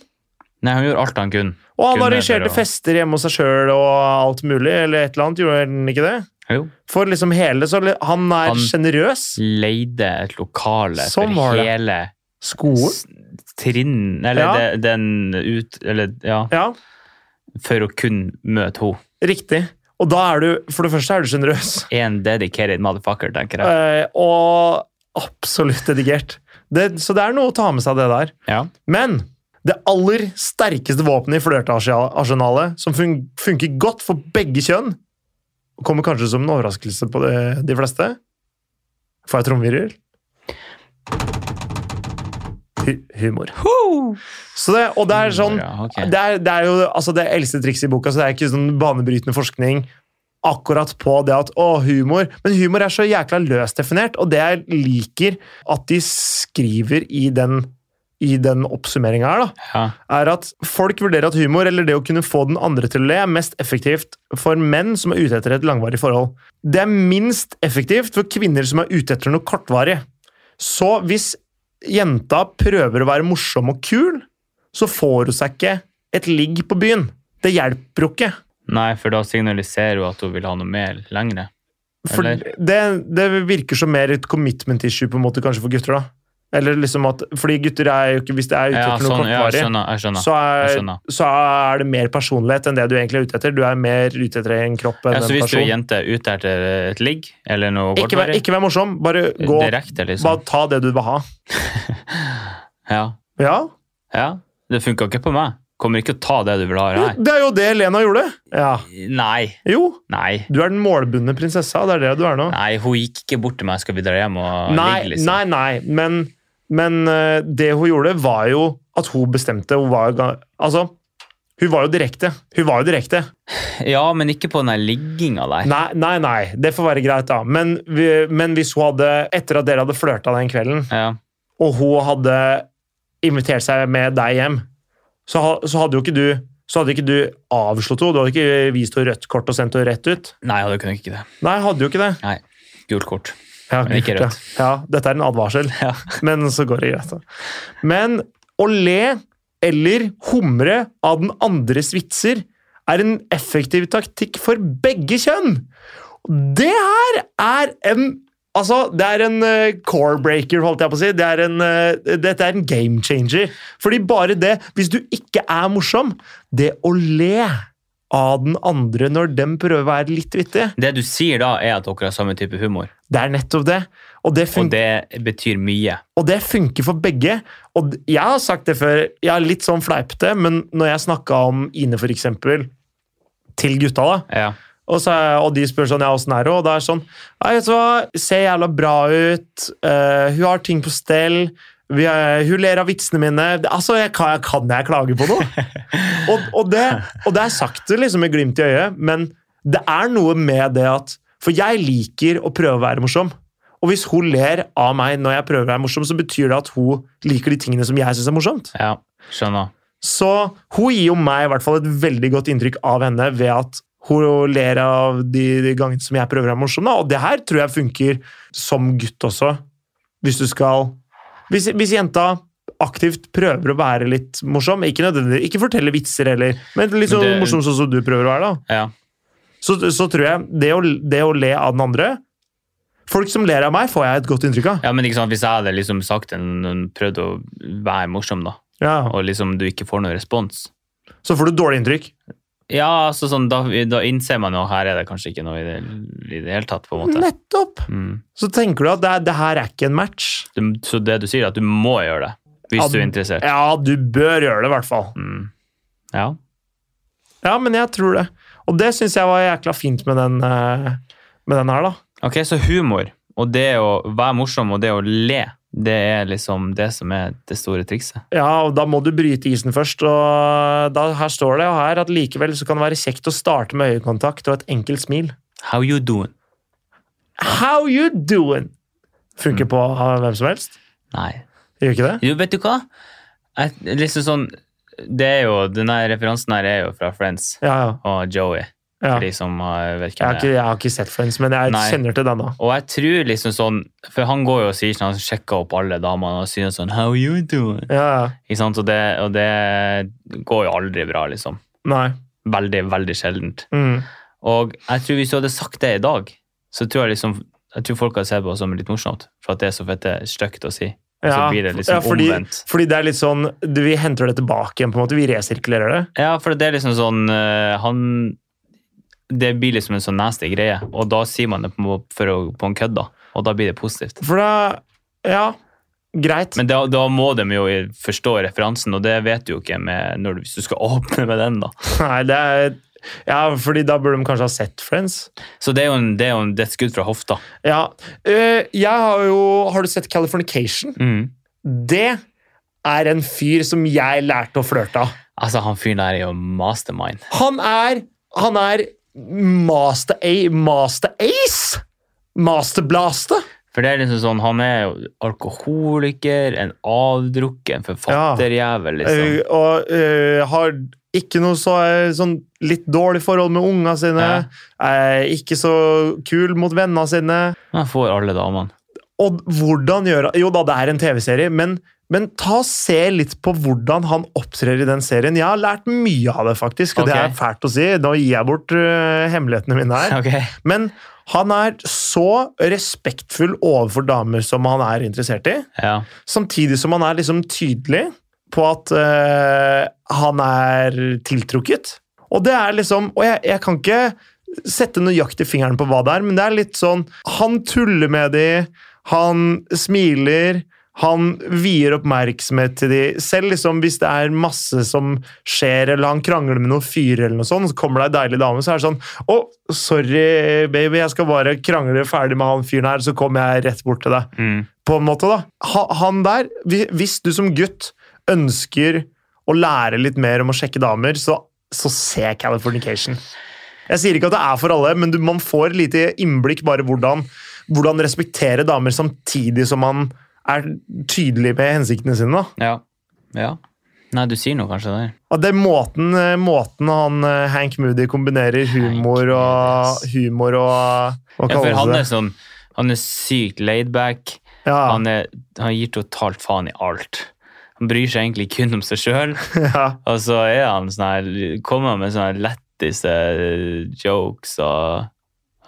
Speaker 1: Nei, han gjorde alt han kunne.
Speaker 2: Og han
Speaker 1: Kunne
Speaker 2: arrangerte
Speaker 1: det, og-
Speaker 2: fester hjemme hos seg sjøl og alt mulig. eller et eller annet, Gjorde han ikke det?
Speaker 1: Jo.
Speaker 2: For liksom hele, så li- Han
Speaker 1: Han-
Speaker 2: er sjenerøs.
Speaker 1: Leide et lokale
Speaker 2: Sånn var
Speaker 1: for
Speaker 2: det.
Speaker 1: hele
Speaker 2: Skolen.
Speaker 1: s- trinn, eller
Speaker 2: Ja.
Speaker 1: det- den ut, eller ja,
Speaker 2: Ja,
Speaker 1: for å kun møte henne.
Speaker 2: riktig. Og da er du For det første er du sjenerøs.
Speaker 1: En dedicated motherfucker, tenker jeg.
Speaker 2: Eh, og absolutt dedikert. Det, så det er noe å ta med seg, det der.
Speaker 1: Ja.
Speaker 2: Men det aller sterkeste våpenet i flørtearsenalet, som fun funker godt for begge kjønn, og kommer kanskje som en overraskelse på det, de fleste Får jeg trommevirvel? Hu humor. Så det, og det er sånn
Speaker 1: Ja, ok.
Speaker 2: det er, det er jo altså det eldste trikset i boka, så det er ikke sånn banebrytende forskning akkurat på det at å, humor Men humor er så jækla løst definert, og det jeg liker at de skriver i den, i den oppsummeringa her, da
Speaker 1: Ja.
Speaker 2: er at folk vurderer at humor eller det å kunne få den andre til å le er mest effektivt for menn som er ute etter et langvarig forhold. Det er minst effektivt for kvinner som er ute etter noe kortvarig. Så hvis jenta prøver å være morsom og kul, så får hun seg ikke et ligg på byen. Det hjelper jo ikke.
Speaker 1: Nei, for da signaliserer hun at hun vil ha noe mer lengre.
Speaker 2: For
Speaker 1: Eller?
Speaker 2: det, det virker som mer et commitment issue på en måte kanskje for gutter. da. Eller liksom at, fordi gutter er jo ikke Hvis det er ute
Speaker 1: Ja,
Speaker 2: etter noe
Speaker 1: sånn, ja,
Speaker 2: kortvarig,
Speaker 1: jeg skjønner. Jeg skjønner.
Speaker 2: så,
Speaker 1: jeg
Speaker 2: er,
Speaker 1: skjønner.
Speaker 2: så er det mer personlighet enn det du egentlig er ute etter. Du er mer ute etter en kropp enn
Speaker 1: Ja, så
Speaker 2: en
Speaker 1: hvis du er
Speaker 2: person.
Speaker 1: jente ute etter et ligg eller noe
Speaker 2: Ikke vær, ikke vær morsom, bare gå
Speaker 1: direkte, liksom.
Speaker 2: Bare ta det du vil ha.
Speaker 1: Ja.
Speaker 2: Ja,
Speaker 1: ja. Det funka ikke på meg. Kommer ikke å ta det du vil ha.
Speaker 2: jo,
Speaker 1: Nei.
Speaker 2: det er jo det Lena gjorde. Ja.
Speaker 1: Nei.
Speaker 2: Jo,
Speaker 1: Nei.
Speaker 2: du er den målbundne prinsessa. Det er det du er nå.
Speaker 1: Nei, hun gikk ikke bort til meg. Skal vi dra hjem og
Speaker 2: Nei,
Speaker 1: ligge, liksom?
Speaker 2: nei, nei. Men, men eh, det hun gjorde, var jo at hun bestemte. Hun var jo, ga- altså, hun var jo direkte. Hun var jo direkte.
Speaker 1: Ja, men ikke på den der ligginga der.
Speaker 2: Nei, nei, nei. Det får være greit, da. Men, vi- men hvis hun hadde, etter at dere hadde flørta den kvelden,
Speaker 1: Ja.
Speaker 2: og hun hadde invitert seg med deg hjem, så, ha- så hadde jo ikke du så hadde ikke du avslått henne. Du hadde ikke vist henne rødt kort og sendt henne rett ut.
Speaker 1: Nei, jeg hadde kunnet ikke det.
Speaker 2: Nei, hadde jo ikke det.
Speaker 1: Nei. Gult kort.
Speaker 2: Ja,
Speaker 1: Men ikke
Speaker 2: gud, ja.
Speaker 1: rødt.
Speaker 2: Ja, dette er en advarsel.
Speaker 1: Ja.
Speaker 2: Men så går det greit. da. Men å le eller humre av den andres vitser er en effektiv taktikk for begge kjønn. Det her er en Altså, det er en eh, core breaker, holdt jeg på å si. Det er en, eh, dette er en game changer. Fordi bare det, hvis du ikke er morsom Det å le av den andre når dem prøver å være litt vittig,
Speaker 1: Det du sier da, er at dere har samme type humor,
Speaker 2: det er nettopp det. Og det funker.
Speaker 1: og det betyr mye.
Speaker 2: Og det funker for begge. Og d- jeg har sagt det før, jeg er litt sånn fleipete, men når jeg snakka om Ine, for eksempel, til gutta, da,
Speaker 1: Ja.
Speaker 2: og, så, og de spør sånn, ja, åssen er det, og da er det sånn Nei, vet du hva, ser jævla bra ut, eh, hun har ting på stell, vi er, hun ler av vitsene mine Det- Altså, jeg kan, jeg kan jeg klage på noe? og, og, det, og det er sakte, liksom, med glimt i øyet, men det er noe med det at For jeg liker å prøve å være morsom. Og hvis hun ler av meg når jeg prøver å være morsom, så betyr det at hun liker de tingene som jeg syns er morsomt.
Speaker 1: ja. Skjønner.
Speaker 2: Så hun gir jo meg i hvert fall et veldig godt inntrykk av henne ved at hun ler av de, de gangene som jeg prøver å være morsom. Da. Og det her tror jeg funker som gutt også. Hvis du skal Hvis, hvis jenta aktivt prøver å være litt morsom, ikke nødvendigvis, ikke fortelle vitser heller, men litt sånn
Speaker 1: Men det-
Speaker 2: morsom sånn som du prøver å være, da.
Speaker 1: Ja.
Speaker 2: Så, så tror jeg det å, det å le av den andre Folk som ler av meg, får jeg et godt inntrykk av.
Speaker 1: ja, men ikke sant, hvis jeg hadde liksom sagt en, en prøvd å være morsom, da,
Speaker 2: Ja.
Speaker 1: og liksom du ikke får noen respons
Speaker 2: Så får du et dårlig inntrykk.
Speaker 1: Ja, altså sånn, da, da innser man jo her er det kanskje ikke noe i det, i det hele tatt, på en måte.
Speaker 2: Nettopp!
Speaker 1: Mm.
Speaker 2: Så tenker du at det, det her er ikke en match.
Speaker 1: Du, så det du sier, er at du må gjøre det hvis
Speaker 2: Ja,
Speaker 1: du er interessert.
Speaker 2: Ja, du bør gjøre det, i hvert fall.
Speaker 1: Mm. Ja.
Speaker 2: Ja, men jeg tror det. Og det syns jeg var jækla fint med den, eh, med den her, da.
Speaker 1: Ok, så humor og det å være morsom og det å le, det er liksom det som er det store trikset.
Speaker 2: Ja, og Da må du bryte isen først. og da, Her står det og her at likevel så kan det være kjekt å starte med øyekontakt og et enkelt smil.
Speaker 1: How you doing?
Speaker 2: How you doing? Funker på eh, hvem som helst.
Speaker 1: Nei.
Speaker 2: Gjør ikke det?
Speaker 1: Jo, vet du hva? Jeg, liksom sånn, det er jo, denne referansen her er jo fra Friends
Speaker 2: Ja, ja.
Speaker 1: og Joey,
Speaker 2: ja.
Speaker 1: for de som har- vet
Speaker 2: Jeg,
Speaker 1: hvem det
Speaker 2: har
Speaker 1: er.
Speaker 2: ikke, jeg har ikke sett Friends, men jeg
Speaker 1: Nei.
Speaker 2: kjenner til denne.
Speaker 1: Og jeg tror liksom sånn, for han går jo og sier sånn, han sjekker opp alle damene og sier sånn, how you doing?
Speaker 2: Ja, ja.
Speaker 1: Ikke sant? Og det, og det går jo aldri bra, liksom.
Speaker 2: Nei.
Speaker 1: Veldig, veldig sjeldent.
Speaker 2: Mm.
Speaker 1: Og jeg tror hvis du hadde sagt det i dag, så tror jeg liksom jeg tror folk hadde sett på det som litt morsomt, for at det er så fette stygt å si. Og så blir det liksom
Speaker 2: ja, fordi,
Speaker 1: omvendt.
Speaker 2: Fordi det er litt sånn du, Vi henter det tilbake igjen, på en måte. Vi resirkulerer det.
Speaker 1: Ja, for det er liksom sånn eh, Han Det blir liksom en sånn nasty greie, og da sier man det på, for å, på en kødd, da. Og da blir det positivt.
Speaker 2: For da Ja, greit.
Speaker 1: Men da, da må de jo forstå referansen, og det vet du jo ikke med, når du, hvis du skal åpne med den, da.
Speaker 2: Nei, det er Ja, fordi da burde de kanskje ha sett Friends.
Speaker 1: Så det er jo, en, det er jo en, det er et skudd fra hofta.
Speaker 2: Ja. øh, jeg har jo Har du sett Californication?
Speaker 1: Mm.
Speaker 2: Det er en fyr som jeg lærte å flørte av.
Speaker 1: Altså, han fyren der er jo mastermind.
Speaker 2: Han er Han er master a Master ace! Masterblaste!
Speaker 1: For det er liksom sånn, han er jo alkoholiker, en avdrukken en forfatterjævel, liksom.
Speaker 2: Øh, og øh, har ikke noe så, sånn litt dårlig forhold med unga sine.
Speaker 1: Ja.
Speaker 2: Er ikke så kul mot vennene sine.
Speaker 1: Han får alle damene.
Speaker 2: Og hvordan gjør han Jo da, det er en TV-serie, men, men ta og se litt på hvordan han opptrer i den serien. Jeg har lært mye av det, faktisk, og det
Speaker 1: Ok.
Speaker 2: er fælt å si. Nå gir jeg bort øh, hemmelighetene eh, mine her.
Speaker 1: Ok.
Speaker 2: Men Han er så respektfull overfor damer som han er interessert i,
Speaker 1: Ja.
Speaker 2: samtidig som han er liksom tydelig på at eh, han er tiltrukket. Og det er liksom Og jeg, jeg kan ikke sette nøyaktig fingeren på hva det er, men det er litt sånn Han tuller med de, han smiler. Han vier oppmerksomhet til de. Selv liksom hvis det er masse som skjer, eller han krangler med noen fyrer, eller noe sånt, så kommer det ei deilig dame, så er det sånn Å, sorry, baby, jeg skal bare krangle ferdig med han fyren her, så kommer jeg rett bort til deg
Speaker 1: Mm.
Speaker 2: på en måte da. Ha- Han der, hvi- hvis du som gutt ønsker å lære litt mer om å sjekke damer, så, så se Californication. Jeg sier ikke at det er for alle, men du, man får lite innblikk bare hvordan, hvordan respektere damer samtidig som man er tydelig med hensiktene sine. da.
Speaker 1: ja. Ja. Nei, du sier noe kanskje der.
Speaker 2: Og det er måten, måten han eh, Hank Moody kombinerer humor og, humor og hva
Speaker 1: Ja, for
Speaker 2: kalles
Speaker 1: han
Speaker 2: det?
Speaker 1: er sånn Han er sykt laidback.
Speaker 2: Ja,
Speaker 1: Han, er- han gir totalt faen i alt. Han bryr seg egentlig kun om seg sjøl.
Speaker 2: ja.
Speaker 1: Og så er han sånn her, kommer han med sånne her letteste eh, jokes og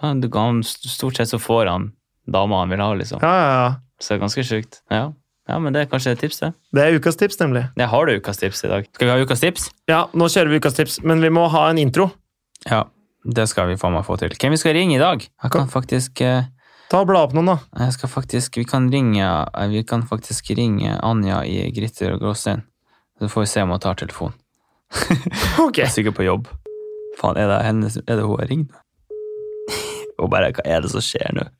Speaker 1: han, du kan- Stort sett så får han dama han vil ha, liksom.
Speaker 2: ja, ja, ja.
Speaker 1: Så det er ganske sjukt. Ja. ja, men det er kanskje et tips, det.
Speaker 2: Det er ukas tips, nemlig.
Speaker 1: Jeg har du ukas tips i dag. Skal vi ha ukas tips?
Speaker 2: Ja, nå kjører vi ukas tips, men vi må ha en intro.
Speaker 1: Ja, det skal vi faen meg få til. Hvem vi skal ringe i dag? Jeg kan faktisk eh,
Speaker 2: Ta og bla opp noen, da.
Speaker 1: Jeg skal faktisk Vi kan ringe eh, Vi kan faktisk ringe Anja i Gritter og Gråstein. Så får vi se om hun tar telefonen.
Speaker 2: Ok.
Speaker 1: Jeg er sikkert på jobb. Faen, er det, henne, er det hun jeg ringte? Og bare, hva er det som skjer nå?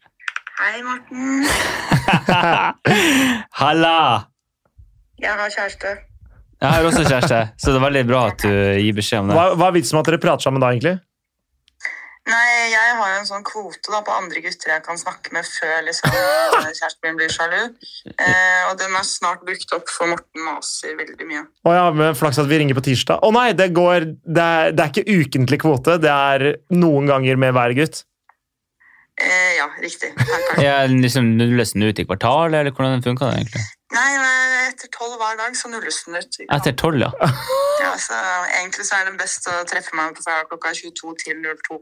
Speaker 3: Hei, Morten.
Speaker 1: Halla!
Speaker 3: Jeg har kjæreste.
Speaker 1: Jeg har også kjæreste, så det er veldig bra at du gir beskjed om det.
Speaker 2: Hva, hva er vitsen med at dere prater sammen da, egentlig?
Speaker 3: Nei, jeg har jo en sånn kvote da, på andre gutter jeg kan snakke med før liksom, kjæresten min blir sjalu. Eh, og den er snart brukt opp, for Morten maser veldig mye.
Speaker 2: Å ja, men flaks at vi ringer på tirsdag. Å nei, det går Det er, det er ikke ukentlig kvote, det er noen ganger med hver gutt.
Speaker 3: Eh, ja, riktig. Takk, takk.
Speaker 1: Jeg liksom nulles den ut i kvartalet, eller hvordan funka det egentlig?
Speaker 3: Nei, nei, etter tolv hver dag så nulles den ut.
Speaker 1: Etter tolv, ja.
Speaker 3: Ja, så egentlig så er det best å treffe meg på fra klokka 22 til 02.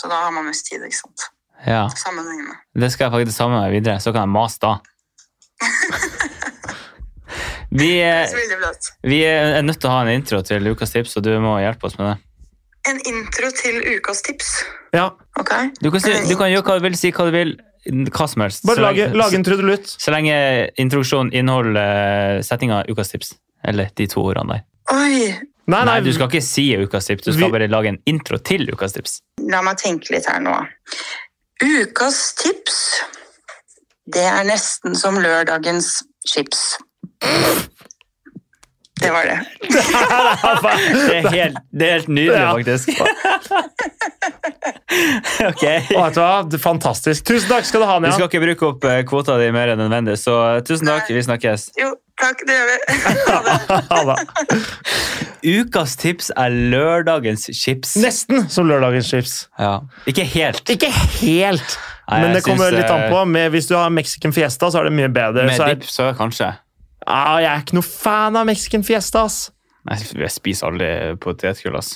Speaker 3: Så da har man mest tid, ikke sant.
Speaker 1: ja.
Speaker 3: Sammenhengende.
Speaker 1: Det skal jeg faktisk ta med meg videre, så kan jeg mase da. Vi,
Speaker 3: Det
Speaker 1: eh,
Speaker 3: er så veldig bløtt.
Speaker 1: vi er nødt til å ha en intro til Lukas tips, og du må hjelpe oss med det.
Speaker 3: En intro til ukas tips.
Speaker 2: Ja,
Speaker 3: Ok.
Speaker 1: Du kan, si, du kan gjøre hva du vil, si hva du vil, hva som helst.
Speaker 2: Bare
Speaker 1: Så
Speaker 2: lage,
Speaker 1: lenge-
Speaker 2: lage en trudelutt.
Speaker 1: Så lenge introduksjonen inneholder setninga ukas tips. Eller de to ordene der.
Speaker 3: Oi,
Speaker 2: Nei,
Speaker 1: Nei,
Speaker 2: nei,
Speaker 1: du skal ikke si ukas tips, du skal
Speaker 2: Vi-
Speaker 1: bare lage en intro til ukas tips.
Speaker 3: La meg tenke litt her nå. Ukas tips, det er nesten som lørdagens chips. Det var det.
Speaker 1: Det er helt, det er helt nydelig,
Speaker 2: Ja.
Speaker 1: faktisk. ok.
Speaker 2: Å, vet du hva? Det er Fantastisk. Tusen takk skal du ha,
Speaker 1: Vi
Speaker 2: Nia.
Speaker 1: skal ikke bruke opp eh, kvota di mer enn nødvendig, så eh, tusen takk. Vi snakkes.
Speaker 3: Jo, takk, det gjør vi. Ha det.
Speaker 2: Ha det.
Speaker 1: Ukas tips er lørdagens chips.
Speaker 2: Nesten som lørdagens chips.
Speaker 1: Ja. Ikke helt.
Speaker 2: Ikke helt,
Speaker 1: Nei,
Speaker 2: men det
Speaker 1: jeg
Speaker 2: kommer
Speaker 1: syns,
Speaker 2: litt an
Speaker 1: eh,
Speaker 2: på. Med, hvis du har mexican fiesta, så er det mye bedre.
Speaker 1: Med
Speaker 2: Så er,
Speaker 1: dipp, så kanskje.
Speaker 2: ah, jeg er ikke noe fan av mexican fiesta, ass.
Speaker 1: Nei, Jeg spiser aldri potetgull, ass.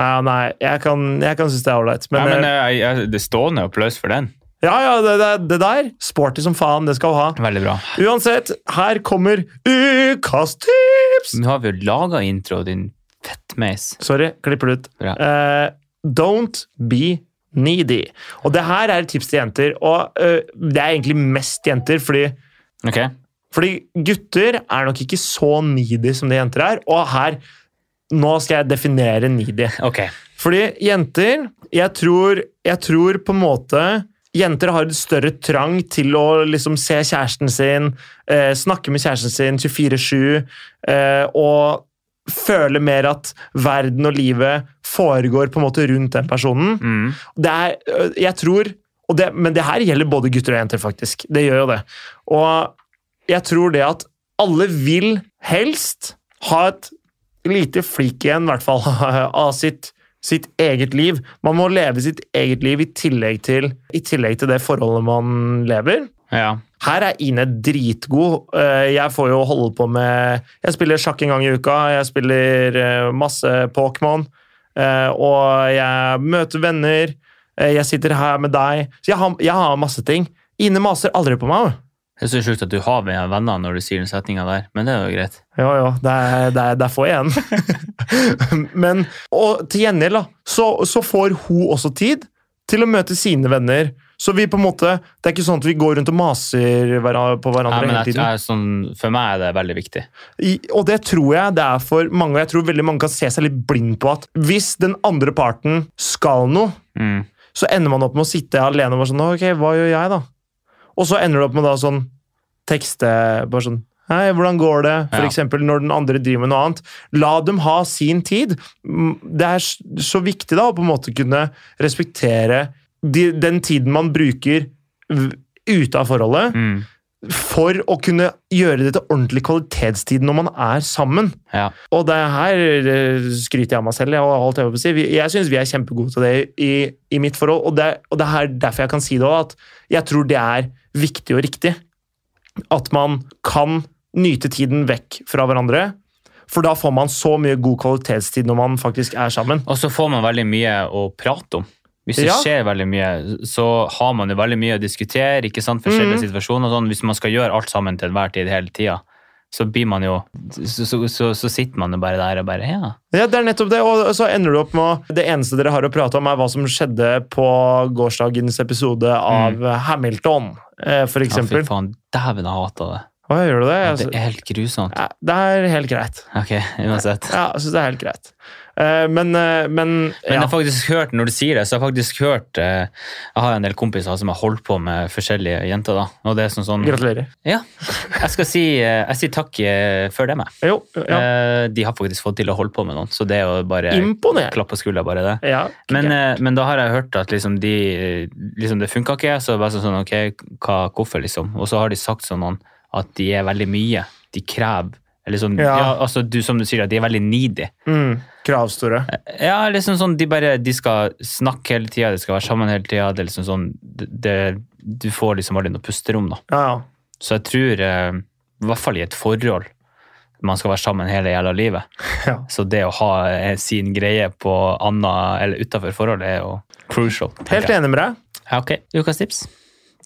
Speaker 2: Ja, nei, jeg kan, jeg kan synes det er ålreit.
Speaker 1: Nei,
Speaker 2: Men,
Speaker 1: men
Speaker 2: eh,
Speaker 1: eh, jeg, det er stående applaus for den.
Speaker 2: ja, ja, det, det, det der. Sporty som faen, det skal du ha.
Speaker 1: Veldig bra.
Speaker 2: Uansett, her kommer ukas tips!
Speaker 1: Nå har vi jo laga intro, din fettmeis.
Speaker 2: Sorry, klipper det ut.
Speaker 1: Bra.
Speaker 2: Eh, don't be needy. Og det her er et tips til jenter, og eh, det er egentlig mest jenter, fordi,
Speaker 1: Ok,
Speaker 2: fordi gutter er nok ikke så needy som det jenter er, og her, nå skal jeg definere needy.
Speaker 1: ok.
Speaker 2: Fordi jenter jeg tror, jeg tror på en måte Jenter har et større trang til å liksom se kjæresten sin, eh, snakke med kjæresten sin 24-7 eh, og føle mer at verden og livet foregår på en måte rundt den personen.
Speaker 1: Mm.
Speaker 2: Det er, øh, jeg tror, og det, men det her gjelder både gutter og jenter, faktisk. Det gjør jo det. Og jeg tror det at alle vil helst ha et lite flik igjen, i hvert fall, av sitt, sitt eget liv. Man må leve sitt eget liv i tillegg til, i tillegg til det forholdet man lever.
Speaker 1: Ja.
Speaker 2: Her er Ine dritgod. Eh, Jeg får jo holde på med Jeg spiller sjakk en gang i uka, jeg spiller eh, masse Pokémon, eh, og jeg møter venner. Eh, eh, jeg sitter her med deg. Så jeg har, jeg har masse ting. Ine maser aldri på meg.
Speaker 1: Det er så sjukt at du har med venner når du sier den setninga der, men det er jo greit.
Speaker 2: Jo, jo, det er, det er, det er få igjen. Men, og til gjengjeld, da, så, så får hun også tid til å møte sine venner. Så vi på en måte, det er ikke sånn at vi går rundt og maser hvera- på
Speaker 1: Ja,
Speaker 2: hverandre
Speaker 1: men
Speaker 2: hele
Speaker 1: jeg,
Speaker 2: tiden.
Speaker 1: jeg, sånn, for meg er det veldig viktig.
Speaker 2: I, og det tror jeg det er for mange, og jeg tror veldig mange kan se seg litt blind på at hvis den andre parten skal noe,
Speaker 1: Mm.
Speaker 2: så ender man opp med å sitte alene og bare sånn Ok, hva gjør jeg, da? Og så ender du opp med da sånn tekste bare sånn Hei, hvordan går det? For
Speaker 1: Ja.
Speaker 2: eksempel når den andre driver med noe annet. La dem ha sin tid. Mm, Det er s- så viktig da å på en måte kunne respektere de, den tiden man bruker v- ute av forholdet,
Speaker 1: Mm.
Speaker 2: for å kunne gjøre det til ordentlig kvalitetstid når man er sammen.
Speaker 1: Ja.
Speaker 2: Og det her eh, skryter jeg av meg selv. Jeg, og alt jeg, holdt på å si. Vi- jeg syns vi er kjempegode til det i, i mitt forhold, og det, og det er her derfor jeg kan si det òg, at jeg tror det er viktig og riktig. At man kan nyte tiden vekk fra hverandre, for da får man så mye god kvalitetstid når man faktisk er sammen.
Speaker 1: Og så får man veldig mye å prate om. Hvis det
Speaker 2: Ja.
Speaker 1: skjer veldig mye, så har man jo veldig mye å diskutere. ikke sant? Forskjellige
Speaker 2: Mhm.
Speaker 1: situasjoner og sånn. Hvis man skal gjøre alt sammen til enhver tid hele tida, så blir man jo så, så, så, så sitter man jo bare der og bare Ja.
Speaker 2: Ja, det er nettopp det, og så ender du opp med å- Det eneste dere har å prate om, er hva som skjedde på gårsdagens episode av Hamilton, eh, for
Speaker 1: Mm. ja fy
Speaker 2: eksempel. altså-
Speaker 1: faen, dæven, jeg hater det.
Speaker 2: Å, gjør du det?
Speaker 1: Ja,
Speaker 2: Jeg-
Speaker 1: Det er helt grusomt.
Speaker 2: Ja, Det er helt greit.
Speaker 1: Ok, uansett.
Speaker 2: Ja, jeg synes det er helt greit. Eh, men eh, men,
Speaker 1: Men jeg
Speaker 2: ja.
Speaker 1: har faktisk hørt, når du sier det, så har jeg faktisk hørt eh, Jeg har en del kompiser som har holdt på med forskjellige jenter, da. Og det er sånn sånn
Speaker 2: Gratulerer.
Speaker 1: Ja. Jeg skal si eh, Jeg sier takk eh, før dem, jeg.
Speaker 2: Jo, ja.
Speaker 1: Eh, De har faktisk fått til å holde på med noen, så det er jo bare
Speaker 2: Imponerende.
Speaker 1: klapp på skuldra, bare det.
Speaker 2: Ja,
Speaker 1: Men,
Speaker 2: ok.
Speaker 1: eh, men da har jeg hørt at liksom de eh, liksom Det funka ikke, så bare sånn sånn, ok, hva, hvorfor, liksom? Og så har de sagt sånn noen at de er veldig mye. De krever eller sånn, ja.
Speaker 2: Ja.
Speaker 1: altså du, Som du sier, at de er veldig needy.
Speaker 2: mm, Kravstore.
Speaker 1: Ja, liksom sånn, de bare de skal snakke hele tida, de skal være sammen hele tida. Det er liksom sånn det, det- Du får liksom aldri noe pusterom, da.
Speaker 2: Ja, ja.
Speaker 1: Så jeg tror, eh, i hvert fall i et forhold, man skal være sammen hele jævla livet.
Speaker 2: Ja.
Speaker 1: Så det å ha eh, sin greie på anna, eller utenfor forholdet er jo crucial. tenker
Speaker 2: Helt
Speaker 1: jeg.
Speaker 2: enig med deg.
Speaker 1: Ja, ok. Ukas tips.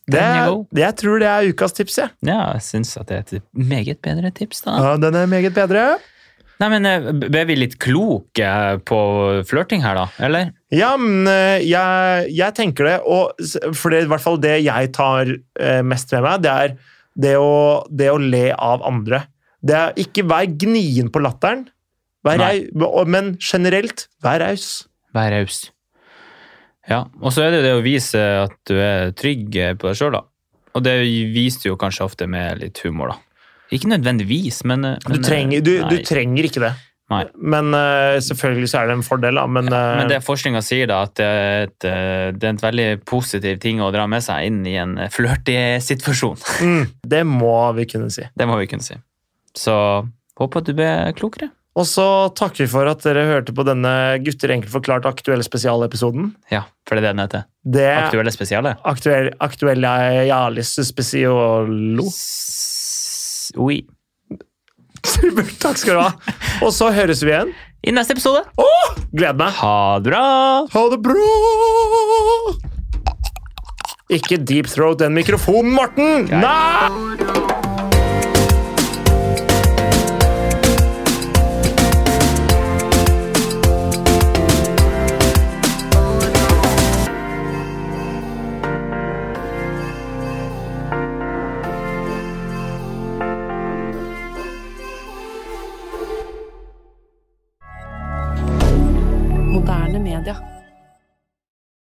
Speaker 2: Det,
Speaker 1: Den er
Speaker 2: er-
Speaker 1: god.
Speaker 2: det, jeg tror det er ukas tips, jeg.
Speaker 1: Ja, jeg syns at det er et meget bedre tips, da.
Speaker 2: Ja, den er meget bedre.
Speaker 1: Nei, men eh, ble vi litt kloke eh, på flørting her, da? Eller?
Speaker 2: Ja, men eh, jeg, jeg tenker det, og s- for det er i hvert fall det jeg tar eh, mest med meg, det er det å, det å le av andre. Det er ikke vær gnien på latteren, vær
Speaker 1: Nei.
Speaker 2: rau- og- men generelt, vær raus.
Speaker 1: Vær raus. Ja, og så er det det å vise at du er trygg på deg sjøl, da. Og det viser du jo kanskje ofte med litt humor, da. Ikke nødvendigvis, men, eh,
Speaker 2: Du,
Speaker 1: men
Speaker 2: trenger- du, du
Speaker 1: nei.
Speaker 2: trenger ikke det.
Speaker 1: Nei.
Speaker 2: Men eh, selvfølgelig så er det en fordel, da. Men, eh,
Speaker 1: Men det forskninga sier, da, at det er, et, eh, det er en veldig positiv ting å dra med seg inn i en eh, flørtig situasjon.
Speaker 2: mm, det må vi kunne si.
Speaker 1: Det må vi kunne si. Så håper at du ble klokere.
Speaker 2: Og så takker vi for at dere hørte på denne Gutter enkelt forklart aktuelle spesialepisoden.
Speaker 1: Ja, for det er det den heter.
Speaker 2: Det er
Speaker 1: Aktuelle spesiale.
Speaker 2: aktuell, aktuelle Jalis spesiolo.
Speaker 1: S- Oui.
Speaker 2: Supert, takk skal du ha. Og så høres vi igjen.
Speaker 1: I neste episode.
Speaker 2: Gleder meg.
Speaker 1: Ha det bra!
Speaker 2: Ha det bra! Ikke deep throat den mikrofonen, Morten! Nei!
Speaker 4: Moderne media.